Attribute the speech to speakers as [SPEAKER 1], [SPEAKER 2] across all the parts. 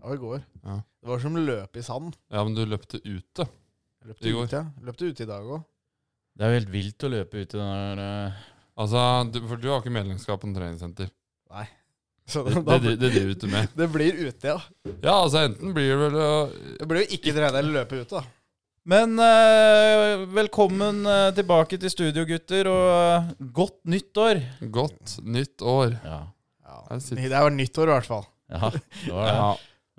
[SPEAKER 1] var i går.
[SPEAKER 2] Ja.
[SPEAKER 1] Det var som å løpe i sand.
[SPEAKER 2] Ja, men du løpte ute.
[SPEAKER 1] Jeg Løpte
[SPEAKER 2] I går.
[SPEAKER 1] ute, ja. Løpte ute i dag òg.
[SPEAKER 3] Det er jo helt vilt å løpe ut i den der eh,
[SPEAKER 2] Altså, du, for du har ikke medlemskap på treningssenter.
[SPEAKER 1] Så
[SPEAKER 2] Det,
[SPEAKER 1] da,
[SPEAKER 2] det, det, det driver du ikke med.
[SPEAKER 1] det blir ute, ja.
[SPEAKER 2] Ja, altså, enten blir det vel å
[SPEAKER 1] Det blir jo ikke trene eller løpe ute, da.
[SPEAKER 3] Men eh, velkommen eh, tilbake til studio, gutter, og eh, godt nyttår!
[SPEAKER 2] Godt nytt år.
[SPEAKER 3] Ja.
[SPEAKER 1] Ja.
[SPEAKER 2] Her sitter-
[SPEAKER 1] Det var nyttår, i hvert fall.
[SPEAKER 3] ja, det var det.
[SPEAKER 2] Ja.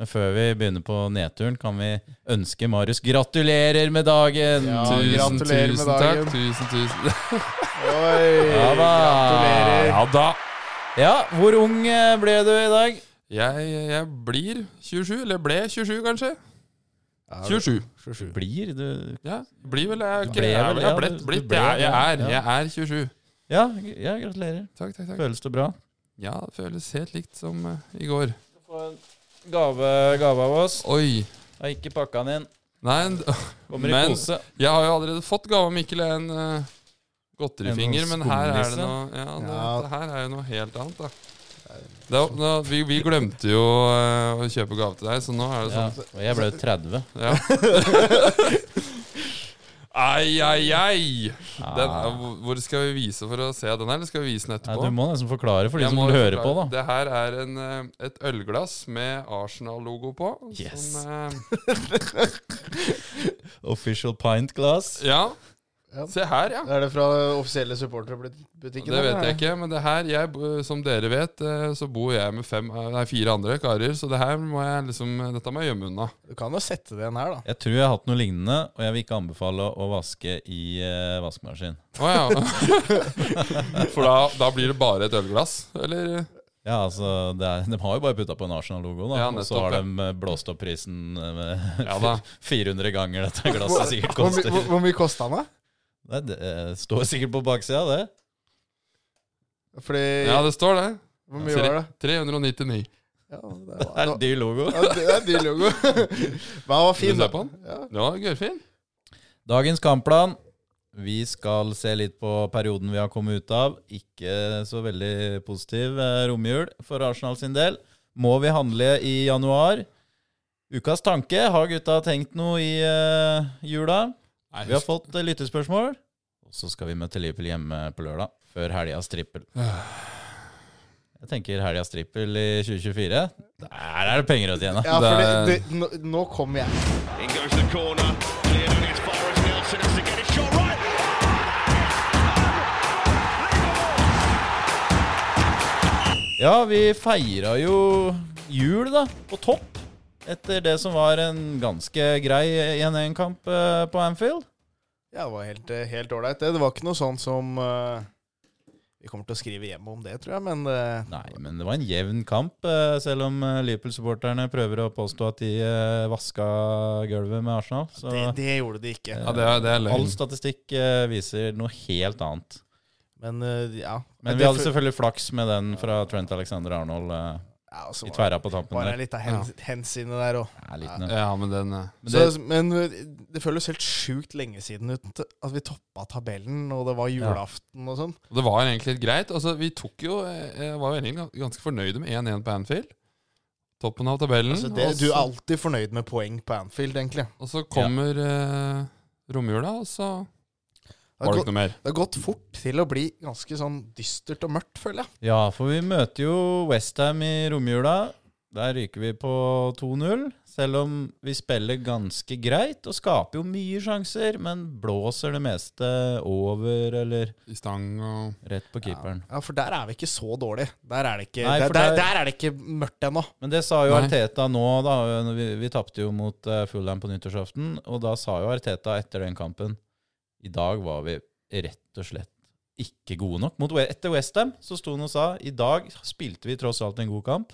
[SPEAKER 3] Men før vi begynner på nedturen, kan vi ønske Marius gratulerer med dagen!
[SPEAKER 1] Ja,
[SPEAKER 2] Tusen,
[SPEAKER 1] gratulerer med
[SPEAKER 2] tusen
[SPEAKER 1] dagen.
[SPEAKER 2] takk. Tusen, tusen.
[SPEAKER 1] Oi!
[SPEAKER 3] Ja da.
[SPEAKER 1] Gratulerer.
[SPEAKER 2] Ja da.
[SPEAKER 3] Ja, hvor ung eh, ble du i dag?
[SPEAKER 2] Jeg, jeg blir 27, eller ble 27 kanskje?
[SPEAKER 1] Ja,
[SPEAKER 2] 27.
[SPEAKER 1] 27.
[SPEAKER 3] Blir du
[SPEAKER 2] Ja, blir vel jeg,
[SPEAKER 3] Du
[SPEAKER 2] ikke,
[SPEAKER 3] ble
[SPEAKER 2] jeg,
[SPEAKER 3] vel,
[SPEAKER 2] jeg,
[SPEAKER 3] ja,
[SPEAKER 2] er blitt,
[SPEAKER 3] du- du
[SPEAKER 2] blitt.
[SPEAKER 3] ble
[SPEAKER 2] Jeg, jeg,
[SPEAKER 3] vel,
[SPEAKER 2] er, jeg er 27.
[SPEAKER 3] Ja, ja gratulerer.
[SPEAKER 2] Takk, takk, takk.
[SPEAKER 3] Føles det bra?
[SPEAKER 2] Ja, det føles helt likt som eh, i går.
[SPEAKER 3] Få en gave, gave av oss.
[SPEAKER 2] Oi.
[SPEAKER 3] Jeg har ikke pakka den inn.
[SPEAKER 2] Nei, en-
[SPEAKER 3] Kommer i
[SPEAKER 2] Men-
[SPEAKER 3] pose.
[SPEAKER 2] jeg har jo allerede fått gave av Mikkel en eh, godterifinger,
[SPEAKER 3] En sånn
[SPEAKER 2] men her er
[SPEAKER 3] skumnisse.
[SPEAKER 2] det noe ja, det,
[SPEAKER 1] Ja.
[SPEAKER 2] Dette her er jo noe helt annet, da. Det, er- nå, vi, vi glemte jo eh, å kjøpe gave til deg, så nå er det
[SPEAKER 3] Ja,
[SPEAKER 2] sånn.
[SPEAKER 3] og jeg ble jo 30.
[SPEAKER 2] Ja. Ai, ai, ai! Den, eh,
[SPEAKER 3] Ah.
[SPEAKER 2] hvor- hvor skal vi vise for å se den her, eller skal vi vise den
[SPEAKER 3] Nei,
[SPEAKER 2] etterpå?
[SPEAKER 3] du må nesten forklare for de
[SPEAKER 2] Jeg
[SPEAKER 3] som
[SPEAKER 2] må
[SPEAKER 3] hører
[SPEAKER 2] forklare.
[SPEAKER 3] på, da.
[SPEAKER 2] Det her er en, eh, et ølglass med Arsenal-logo på.
[SPEAKER 3] Yes.
[SPEAKER 2] som, eh,
[SPEAKER 3] Official pint glass.
[SPEAKER 2] ja,
[SPEAKER 1] Ja.
[SPEAKER 2] se her, ja.
[SPEAKER 1] Er det fra offisielle supporterbutikken?
[SPEAKER 2] Det vet jeg ikke, men det her jeg, bo- Som dere vet, eh, så bor jeg med fem, eh, nei, fire andre karer, så det her må jeg liksom Dette må jeg gjemme unna.
[SPEAKER 1] Du kan jo sette det igjen her, da.
[SPEAKER 3] Jeg tror jeg har hatt noe lignende, og jeg vil ikke anbefale å vaske i eh, vaskemaskin.
[SPEAKER 2] Å ja. For da, da blir det bare et ølglass, eller?
[SPEAKER 3] Ja, altså, det er, De har jo bare putta på en Arsenal-logo, da.
[SPEAKER 2] Ja,
[SPEAKER 3] og så
[SPEAKER 2] nettopp,
[SPEAKER 3] har
[SPEAKER 2] ja.
[SPEAKER 3] de eh, blåst opp prisen eh, med
[SPEAKER 2] Ja da.
[SPEAKER 3] 400 ganger dette
[SPEAKER 1] Hvor-
[SPEAKER 3] glasset sikkert
[SPEAKER 1] Hvor, my-
[SPEAKER 3] koster.
[SPEAKER 1] hvor, hvor mye kosta den, da?
[SPEAKER 3] Nei, det eh, står sikkert på baksida, det.
[SPEAKER 1] Fordi
[SPEAKER 2] Ja, det står det.
[SPEAKER 1] Hvor mye var det?
[SPEAKER 2] 399.
[SPEAKER 1] Ja, det,
[SPEAKER 3] Det er
[SPEAKER 1] var,
[SPEAKER 3] en dyr logo.
[SPEAKER 1] ja, det er dyr logo. Men han var fin,
[SPEAKER 2] Vil du
[SPEAKER 1] da.
[SPEAKER 2] se på den?
[SPEAKER 1] Ja.
[SPEAKER 2] Det var gørrfin.
[SPEAKER 3] Dagens kampplan. Vi skal se litt på perioden vi har kommet ut av. Ikke så veldig positiv eh, romjul for Arsenal sin del. Må vi handle i januar? Ukas tanke. Har gutta tenkt noe i eh, jula?
[SPEAKER 2] Nei,
[SPEAKER 3] Vi har fått eh, lyttespørsmål. Og så skal vi møte Liverpool hjemme på lørdag, før helgas trippel. Jeg tenker helgas trippel i 2024. Der er det penger å tjene.
[SPEAKER 1] Ja, for det, det,
[SPEAKER 2] Det
[SPEAKER 1] nå, nå kom jeg.
[SPEAKER 4] In goes the corner, cleared on as far as Nelson has to get a shot right.
[SPEAKER 3] Ja, vi feira jo jul, da, på topp. Etter det som var en ganske grei 1-1-kamp eh, på Anfield.
[SPEAKER 1] Ja, det var helt eh, helt ålreit, det. Det var ikke noe sånn som eh, Vi kommer til å skrive hjem om det, tror jeg, men eh,
[SPEAKER 3] Nei, men det var en jevn kamp, eh, selv om eh, Liverpool-supporterne prøver å påstå at de eh, vaska gulvet med Arsenal. Så
[SPEAKER 1] det, det gjorde de ikke.
[SPEAKER 2] Ja, det er, det er
[SPEAKER 3] all
[SPEAKER 2] løgn.
[SPEAKER 3] statistikk eh, viser noe helt annet.
[SPEAKER 1] Men eh, ja.
[SPEAKER 3] Men vi hadde selvfølgelig flaks med den fra Trent Alexander Arnold eh,
[SPEAKER 1] ja, og så
[SPEAKER 3] i
[SPEAKER 1] var
[SPEAKER 3] tverra på
[SPEAKER 1] det
[SPEAKER 3] tampen
[SPEAKER 1] Bare
[SPEAKER 3] der.
[SPEAKER 1] litt av hens, hensynet der òg.
[SPEAKER 3] Ja, liten, ja.
[SPEAKER 2] Ja, men den eh,
[SPEAKER 1] Men,
[SPEAKER 3] Men det,
[SPEAKER 1] det, men eh, det føles helt sjukt lenge siden ut at vi toppa tabellen, og det var julaften og sånn.
[SPEAKER 2] Og Det var egentlig helt greit. Altså, vi tok jo, eh, var jo egentlig gans- ganske fornøyde med 1-1 på Anfield. Toppen av tabellen.
[SPEAKER 1] Så Altså, det,
[SPEAKER 2] og,
[SPEAKER 1] du er
[SPEAKER 2] så,
[SPEAKER 1] alltid fornøyd med poeng på Anfield, egentlig.
[SPEAKER 2] og så kommer eh, romjula, og så
[SPEAKER 1] Det
[SPEAKER 2] var
[SPEAKER 1] har,
[SPEAKER 2] det
[SPEAKER 1] gått,
[SPEAKER 2] ikke noe mer.
[SPEAKER 1] det har gått fort til å bli ganske sånn dystert og mørkt, føler jeg.
[SPEAKER 3] Ja, for vi møter jo Westham i romjula. Der ryker vi på 2-0, selv om vi spiller ganske greit og skaper jo mye sjanser, men blåser det meste over eller
[SPEAKER 2] I stang og
[SPEAKER 3] rett på keeperen.
[SPEAKER 1] Ja, For der er vi ikke så dårlig. Der er det ikke,
[SPEAKER 3] Nei,
[SPEAKER 1] der,
[SPEAKER 3] for
[SPEAKER 1] der,
[SPEAKER 3] der-
[SPEAKER 1] der er det ikke mørkt ennå.
[SPEAKER 3] Men det sa jo
[SPEAKER 2] Nei.
[SPEAKER 3] Arteta nå, da. når Vi, vi tapte jo mot eh, Fulham på nyttårsaften, og da sa jo Arteta etter den kampen I dag var vi rett og slett ikke gode nok. Mot, We- etter Westham så sto han og sa i dag spilte vi tross alt en god kamp.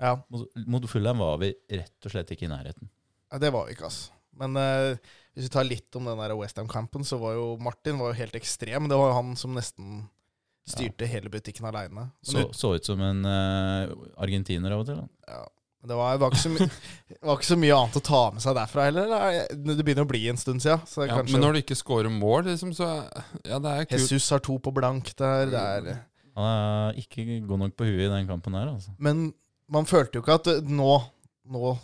[SPEAKER 1] Ja,
[SPEAKER 3] Mot, mot Fulham var vi rett og slett ikke i nærheten.
[SPEAKER 1] ja, det var vi ikke, altså. Men eh, hvis vi tar litt om den der Westham-kampen, så var jo Martin var jo helt ekstrem. Det var jo han som nesten styrte hele butikken aleine.
[SPEAKER 3] Så, så ut som en eh, argentiner av og til. da.
[SPEAKER 1] Men Det var, det, var ikke så my det var ikke så mye annet å ta med seg derfra heller. da. Jeg- Det begynner å bli en stund siden. Så
[SPEAKER 2] ja,
[SPEAKER 1] kanskje
[SPEAKER 2] Men når du ikke scorer mål, liksom, så Ja, det er kult.
[SPEAKER 1] Jesus har to på blank der. Det
[SPEAKER 2] Mm.
[SPEAKER 1] er,
[SPEAKER 3] Han er ikke god nok på huet i den kampen her, altså.
[SPEAKER 1] men man følte jo ikke at eh, nå nå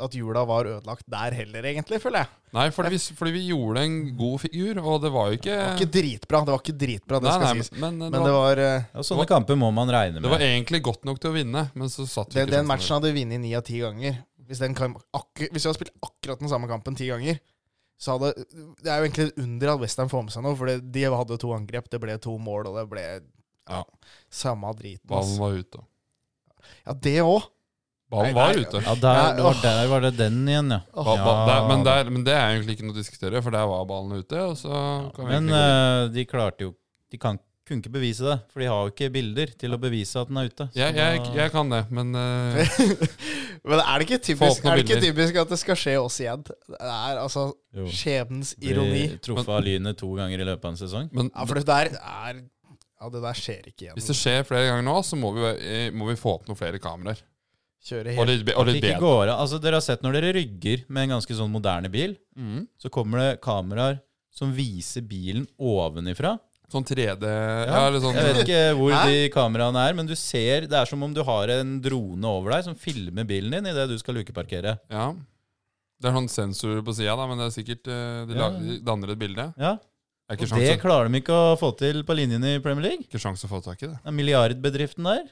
[SPEAKER 1] at jula var ødelagt der heller, egentlig, føler jeg.
[SPEAKER 2] Nei, fordi vi, s- fordi vi gjorde en god figur, og det var jo ikke,
[SPEAKER 1] Det var ikke dritbra, det var ikke dritbra, det
[SPEAKER 2] Nei,
[SPEAKER 1] skal
[SPEAKER 2] nei,
[SPEAKER 1] sies.
[SPEAKER 2] men, men,
[SPEAKER 1] Men det var, eh,
[SPEAKER 3] Ja, sånne kamper må man regne
[SPEAKER 2] Det var
[SPEAKER 3] med.
[SPEAKER 2] egentlig godt nok til å vinne, men så satt
[SPEAKER 1] den,
[SPEAKER 2] vi ikke
[SPEAKER 1] den
[SPEAKER 2] sånn sjansen.
[SPEAKER 1] matchen hadde vi vunnet ni av ti ganger. Hvis, den kam- akkur, hvis vi hadde spilt akkurat den samme kampen ti ganger, så hadde Det er jo egentlig et under at Western får med seg noe, for det- de hadde to angrep, det ble to mål, og det ble ja,
[SPEAKER 2] Ja.
[SPEAKER 1] samme driten.
[SPEAKER 2] Ballen
[SPEAKER 1] ass.
[SPEAKER 2] var ute.
[SPEAKER 1] Ja, det òg.
[SPEAKER 2] Ballen
[SPEAKER 1] Nei,
[SPEAKER 2] var
[SPEAKER 1] nei,
[SPEAKER 2] ute.
[SPEAKER 3] Ja, der,
[SPEAKER 1] Nei,
[SPEAKER 3] det var,
[SPEAKER 1] åh.
[SPEAKER 3] der var det den igjen, ja.
[SPEAKER 2] Ba, ba,
[SPEAKER 3] Ja.
[SPEAKER 2] der, men, der, men det er egentlig ikke noe å diskutere, for der var ballen ute. Og så kan vi
[SPEAKER 3] Men
[SPEAKER 2] egentlig gå videre.
[SPEAKER 3] eh, de klarte jo De kan, kunne ikke bevise det, for de har jo ikke bilder til å bevise at den er ute. Så
[SPEAKER 2] jeg, jeg,
[SPEAKER 3] da-
[SPEAKER 2] jeg kan det, men eh,
[SPEAKER 1] Men er det ikke
[SPEAKER 2] Få opp
[SPEAKER 1] typisk,
[SPEAKER 2] noen
[SPEAKER 1] er det ikke
[SPEAKER 2] bilder.
[SPEAKER 1] typisk at det skal skje oss igjen? Det er altså
[SPEAKER 3] Jo.
[SPEAKER 1] skjebnens ironi.
[SPEAKER 3] Blir truffet av lynet to ganger i løpet av en sesong.
[SPEAKER 2] men
[SPEAKER 1] Ja, for det der er Ja, det der skjer ikke igjen.
[SPEAKER 2] hvis det skjer flere ganger nå, så må vi, eh, må vi få opp noen flere kameraer.
[SPEAKER 1] Kjøre
[SPEAKER 2] Og
[SPEAKER 1] helt
[SPEAKER 2] litt, be- og litt
[SPEAKER 3] Ikke
[SPEAKER 2] bedre.
[SPEAKER 3] går, av- altså, dere har sett når dere rygger med en ganske sånn moderne bil,
[SPEAKER 2] Mm.
[SPEAKER 3] så kommer det kameraer som viser bilen ovenifra.
[SPEAKER 2] Sånn 3D Ja, eller sånn
[SPEAKER 3] Jeg vet ikke hvor
[SPEAKER 1] Hæ?
[SPEAKER 3] de kameraene er, men du ser Det er som om du har en drone over deg som filmer bilen din idet du skal lukeparkere.
[SPEAKER 2] Ja. Det er sånn sensor på sida, da, men det er sikkert eh, De,
[SPEAKER 3] Ja.
[SPEAKER 2] lager, de danner et bilde.
[SPEAKER 3] Ja,
[SPEAKER 2] Det er
[SPEAKER 3] og
[SPEAKER 2] ikke
[SPEAKER 3] Det
[SPEAKER 2] sjans,
[SPEAKER 3] klarer de ikke å få til på linjen i Premier League.
[SPEAKER 2] ikke sjans å få tak i det.
[SPEAKER 3] Det er milliardbedriften der.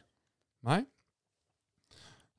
[SPEAKER 2] Nei.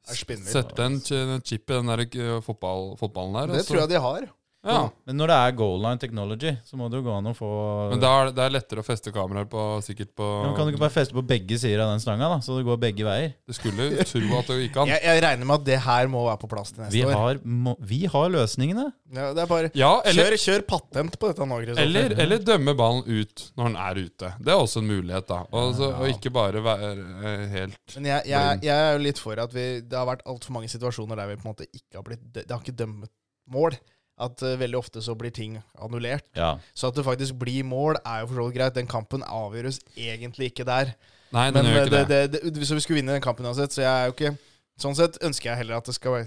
[SPEAKER 1] Det er spinnvilt.
[SPEAKER 2] Sette en ch- en chip i den der eh, fotball, fotballen der.
[SPEAKER 1] Det tror jeg de har.
[SPEAKER 2] ja.
[SPEAKER 3] Men når det er goal line technology, så må det jo gå an å få
[SPEAKER 2] Men da er det, det er lettere å feste kameraer på sikkert på
[SPEAKER 3] Ja, men Kan du ikke bare feste på begge sider av den stanga, da, så det går begge veier?
[SPEAKER 2] Du skulle jo tro at det gikk an.
[SPEAKER 1] Jeg, jeg regner med at det her må være på plass til
[SPEAKER 3] Vi
[SPEAKER 1] neste år.
[SPEAKER 3] har, må- vi har løsningene.
[SPEAKER 1] Ja, det er bare
[SPEAKER 2] Ja, eller,
[SPEAKER 1] kjør, kjør patent på dette nå, Kristoffer.
[SPEAKER 2] eller, eller dømme ballen ut når den er ute. Det er også en mulighet, da. Og, så, og ikke bare være eh, helt
[SPEAKER 1] Men jeg, jeg, jeg er jo litt for at vi, det har vært altfor mange situasjoner der vi på en måte ikke har blitt dø- Det har ikke dømt mål. At eh, veldig ofte så blir ting annullert.
[SPEAKER 3] Ja.
[SPEAKER 1] Så at det faktisk blir mål, er jo for så vidt greit. Den kampen avgjøres egentlig ikke der.
[SPEAKER 2] Nei, den
[SPEAKER 1] Men
[SPEAKER 2] gjør
[SPEAKER 1] eh,
[SPEAKER 2] ikke
[SPEAKER 1] det,
[SPEAKER 2] det.
[SPEAKER 1] det, det, så vi skulle vinne den kampen uansett, så jeg er jo ikke Sånn sett ønsker jeg heller at det skal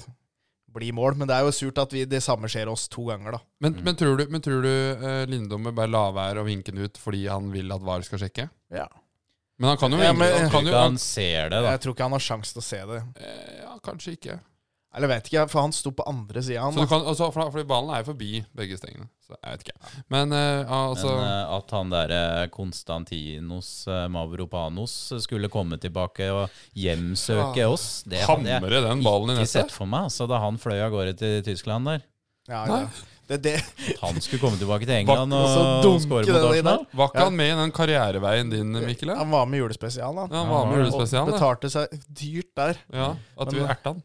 [SPEAKER 1] bli mål, men det er jo surt at vi, det samme skjer oss to ganger, da.
[SPEAKER 2] Men, men tror du, men tror du eh, Lindom vil bare la være å vinke den ut fordi han vil at VAR skal sjekke?
[SPEAKER 1] Ja.
[SPEAKER 2] Men han kan jo
[SPEAKER 1] Ja,
[SPEAKER 2] vinke
[SPEAKER 1] men-
[SPEAKER 2] han kan jo,
[SPEAKER 3] Ikke
[SPEAKER 2] han,
[SPEAKER 3] han ser det, da.
[SPEAKER 1] Jeg tror ikke han har sjanse til å se det.
[SPEAKER 2] eh, Ja, kanskje ikke.
[SPEAKER 1] Eller vet ikke, for han sto på andre sida, han.
[SPEAKER 2] Så
[SPEAKER 1] da.
[SPEAKER 2] du kan, altså, for- fordi ballen er jo forbi begge stengene. Så jeg vet ikke. Men eh, altså
[SPEAKER 3] Men eh, at han derre Konstantinos eh, Mavropanos eh, skulle komme tilbake og hjemsøke oss, det hadde jeg
[SPEAKER 2] Hamre den ballen i
[SPEAKER 3] ikke
[SPEAKER 2] nettet.
[SPEAKER 3] sett for meg. Altså, da han fløy av gårde til Tyskland der.
[SPEAKER 1] Ja, ja. Det, det,
[SPEAKER 3] At han skulle komme tilbake til England
[SPEAKER 1] Og så
[SPEAKER 3] og
[SPEAKER 1] dunke
[SPEAKER 3] skåre
[SPEAKER 1] den
[SPEAKER 3] mot
[SPEAKER 1] i
[SPEAKER 3] Arsenal.
[SPEAKER 2] Var ikke han med i den karriereveien din, Mikkel? Ja,
[SPEAKER 1] han var med i julespesial, han.
[SPEAKER 2] han var med i
[SPEAKER 1] Og
[SPEAKER 2] julespesialen. da.
[SPEAKER 1] betalte seg dyrt der.
[SPEAKER 2] Ja, at vi
[SPEAKER 1] Men- eh,
[SPEAKER 2] erta han.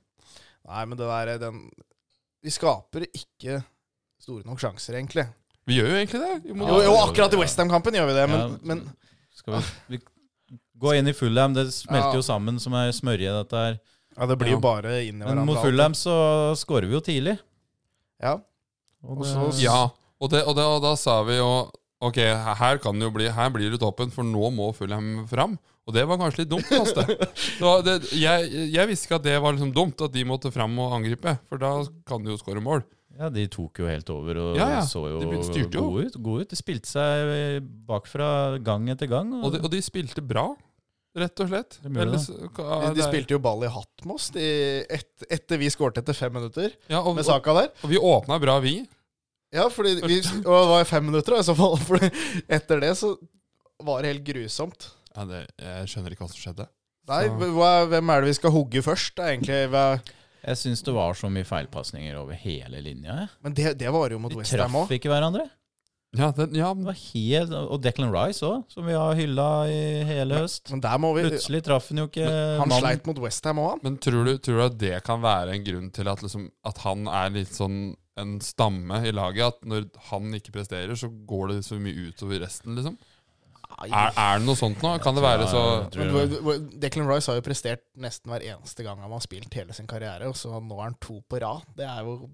[SPEAKER 1] Nei, men det der den Vi skaper ikke store nok sjanser, egentlig.
[SPEAKER 2] Vi gjør jo egentlig det. Vi må-
[SPEAKER 1] Jo, jo akkurat i Westham-kampen gjør vi det, men,
[SPEAKER 3] Ja.
[SPEAKER 1] men
[SPEAKER 3] Skal vi, vi gå inn i Fulham, det smelter
[SPEAKER 1] Ja.
[SPEAKER 3] jo sammen som ei smørje, dette her.
[SPEAKER 1] ja, det blir
[SPEAKER 2] Ja.
[SPEAKER 1] jo bare inn i
[SPEAKER 3] Men
[SPEAKER 1] hverandre.
[SPEAKER 3] mot
[SPEAKER 1] alt.
[SPEAKER 3] Fulham så skårer vi jo tidlig.
[SPEAKER 1] Ja.
[SPEAKER 3] Og
[SPEAKER 1] Og
[SPEAKER 3] det,
[SPEAKER 1] så-
[SPEAKER 2] Ja, og, det, og, det, og da sa vi jo Ok, her, kan det jo bli, her blir det toppen, for nå må Fulham fram. Og det var kanskje litt dumt. ass, det. Det var- det, jeg, jeg visste ikke at det var liksom dumt, at de måtte fram og angripe. For da kan de jo skåre mål.
[SPEAKER 3] ja, de tok jo helt over og
[SPEAKER 2] Ja, ja.
[SPEAKER 3] så jo
[SPEAKER 2] De styrte jo.
[SPEAKER 3] gode ut. Gode ut. De spilte seg bakfra gang etter gang.
[SPEAKER 2] Og de, og de spilte bra, rett og slett.
[SPEAKER 3] De gjorde det.
[SPEAKER 2] Ellers- ja,
[SPEAKER 1] De, de
[SPEAKER 2] det er-
[SPEAKER 1] spilte jo ball i hatt med oss de, et, etter vi skårte etter fem minutter
[SPEAKER 2] ja, og,
[SPEAKER 1] med
[SPEAKER 2] og,
[SPEAKER 1] saka der.
[SPEAKER 2] og vi åpna bra, vi.
[SPEAKER 1] Ja, fordi vi, og det var fem minutter, da, i så fall. For etter det så var det helt grusomt.
[SPEAKER 2] Ja, det, jeg skjønner ikke hva som skjedde.
[SPEAKER 1] Nei,
[SPEAKER 2] Så-
[SPEAKER 1] hva, hvem er det vi skal hogge først? Det er egentlig, hva,
[SPEAKER 3] Jeg syns det var så mye feilpasninger over hele linja. jeg.
[SPEAKER 1] men det, det var jo mot
[SPEAKER 3] De
[SPEAKER 1] Westham
[SPEAKER 3] traff
[SPEAKER 1] òg.
[SPEAKER 3] ikke hverandre.
[SPEAKER 2] Ja, den, ja,
[SPEAKER 3] Det var helt, og Declan Rice òg, som vi har hylla i hele høst.
[SPEAKER 1] Men der må vi
[SPEAKER 3] Plutselig traff han jo ikke
[SPEAKER 1] Han
[SPEAKER 3] mannen.
[SPEAKER 1] sleit mot Westham òg, han.
[SPEAKER 2] Men tror du, tror du at det kan være en grunn til at, liksom, at han er litt sånn en stamme i laget? At når han ikke presterer, så går det så mye utover resten, liksom? Er, er det noe sånt nå? Kan det være så
[SPEAKER 3] Ja, jeg tror
[SPEAKER 1] Men
[SPEAKER 3] det.
[SPEAKER 1] du- du- Declan Rice har jo prestert nesten hver eneste gang han har spilt hele sin karriere, og så nå er han to på rad. Det er jo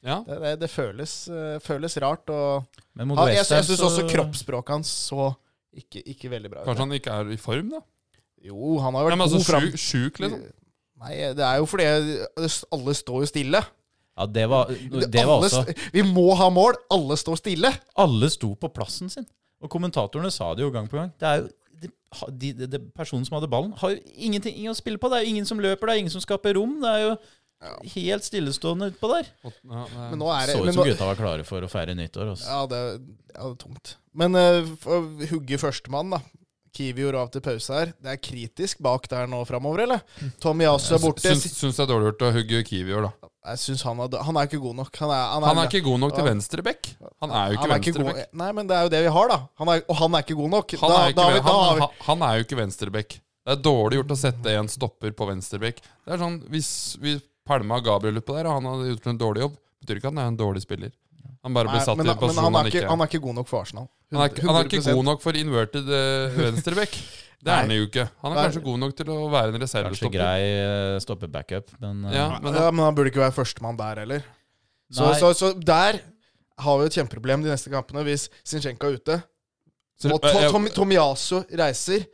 [SPEAKER 2] Ja,
[SPEAKER 1] Det, det, det føles, eh, føles rart. Og
[SPEAKER 3] Men mot
[SPEAKER 1] ja, jeg
[SPEAKER 3] West Ham
[SPEAKER 1] jeg syns
[SPEAKER 3] så-
[SPEAKER 1] også kroppsspråket hans så ikke, ikke veldig bra ut.
[SPEAKER 2] Kanskje han ikke er i form, da?
[SPEAKER 1] Jo, han har
[SPEAKER 2] Nei,
[SPEAKER 1] vært
[SPEAKER 2] men altså
[SPEAKER 1] god fram
[SPEAKER 2] sjuk, sjuk liksom?
[SPEAKER 1] Nei, det er jo fordi det- alle står jo stille.
[SPEAKER 3] Ja, det var, det var
[SPEAKER 1] alle,
[SPEAKER 3] også
[SPEAKER 1] st- Vi må ha mål! Alle står stille!
[SPEAKER 3] Alle sto på plassen sin. Og kommentatorene sa det jo gang på gang. Det er jo de, ha- de, de, de Personen som hadde ballen, har jo ingenting å spille på. Det er jo ingen som løper, det er ingen som skaper rom. Det er jo helt stillestående utpå der.
[SPEAKER 2] Ja, nei.
[SPEAKER 1] Men nå er det
[SPEAKER 3] Så ut
[SPEAKER 1] men
[SPEAKER 3] som
[SPEAKER 1] nå-
[SPEAKER 3] gutta var klare for å feire nyttår. altså. Også.
[SPEAKER 1] Ja, det, ja, det er tungt. Men eh, for- hugge førstemann, da. Kiwi gjorde av til pause her. Det er kritisk bak der nå framover, eller? Tom Yasu er borte.
[SPEAKER 2] Syns, syns det er dårlig gjort å hugge Kiwi i år, da.
[SPEAKER 1] Jeg syns han er, han er ikke god nok. Han er,
[SPEAKER 2] Han er ikke god nok til venstrebekk. Han er jo
[SPEAKER 1] han
[SPEAKER 2] ikke
[SPEAKER 1] er ikke god-
[SPEAKER 2] venstrebekk.
[SPEAKER 1] Nei, men det er jo det vi har, da. Han er, og han er ikke god nok.
[SPEAKER 2] Han
[SPEAKER 1] da,
[SPEAKER 2] er, ikke,
[SPEAKER 1] da, har vi-
[SPEAKER 2] ven-
[SPEAKER 1] da har vi,
[SPEAKER 2] han, han er jo ikke venstrebekk. Det er dårlig gjort å sette en stopper på venstrebekk. Det er sånn, Hvis vi pælma Gabriel utpå der, og han hadde gjort en dårlig jobb, betyr ikke at han er en dårlig spiller. Han bare ble
[SPEAKER 1] Nei,
[SPEAKER 2] satt
[SPEAKER 1] men,
[SPEAKER 2] i en
[SPEAKER 1] men
[SPEAKER 2] posisjon
[SPEAKER 1] han,
[SPEAKER 2] han,
[SPEAKER 1] er ikke,
[SPEAKER 2] ikke
[SPEAKER 1] han
[SPEAKER 2] er.
[SPEAKER 1] er ikke god nok for Arsenal.
[SPEAKER 2] Han er, ikke- han er ikke god nok for inverted eh, venstrebekk. Det er han jo ikke. Han er
[SPEAKER 1] Nei.
[SPEAKER 2] kanskje god nok til å være en
[SPEAKER 3] Kanskje
[SPEAKER 2] reservestopper.
[SPEAKER 3] grei eh, stoppe backup, men eh,
[SPEAKER 2] Ja, men
[SPEAKER 1] Men, ja, men han burde ikke være førstemann der heller. Så,
[SPEAKER 3] Nei.
[SPEAKER 1] så, så der har vi et kjempeproblem de neste kampene hvis Zinchenko er ute.
[SPEAKER 2] Så- eh,
[SPEAKER 1] Og
[SPEAKER 3] eh,
[SPEAKER 1] to, Tom, Tomiasso reiser,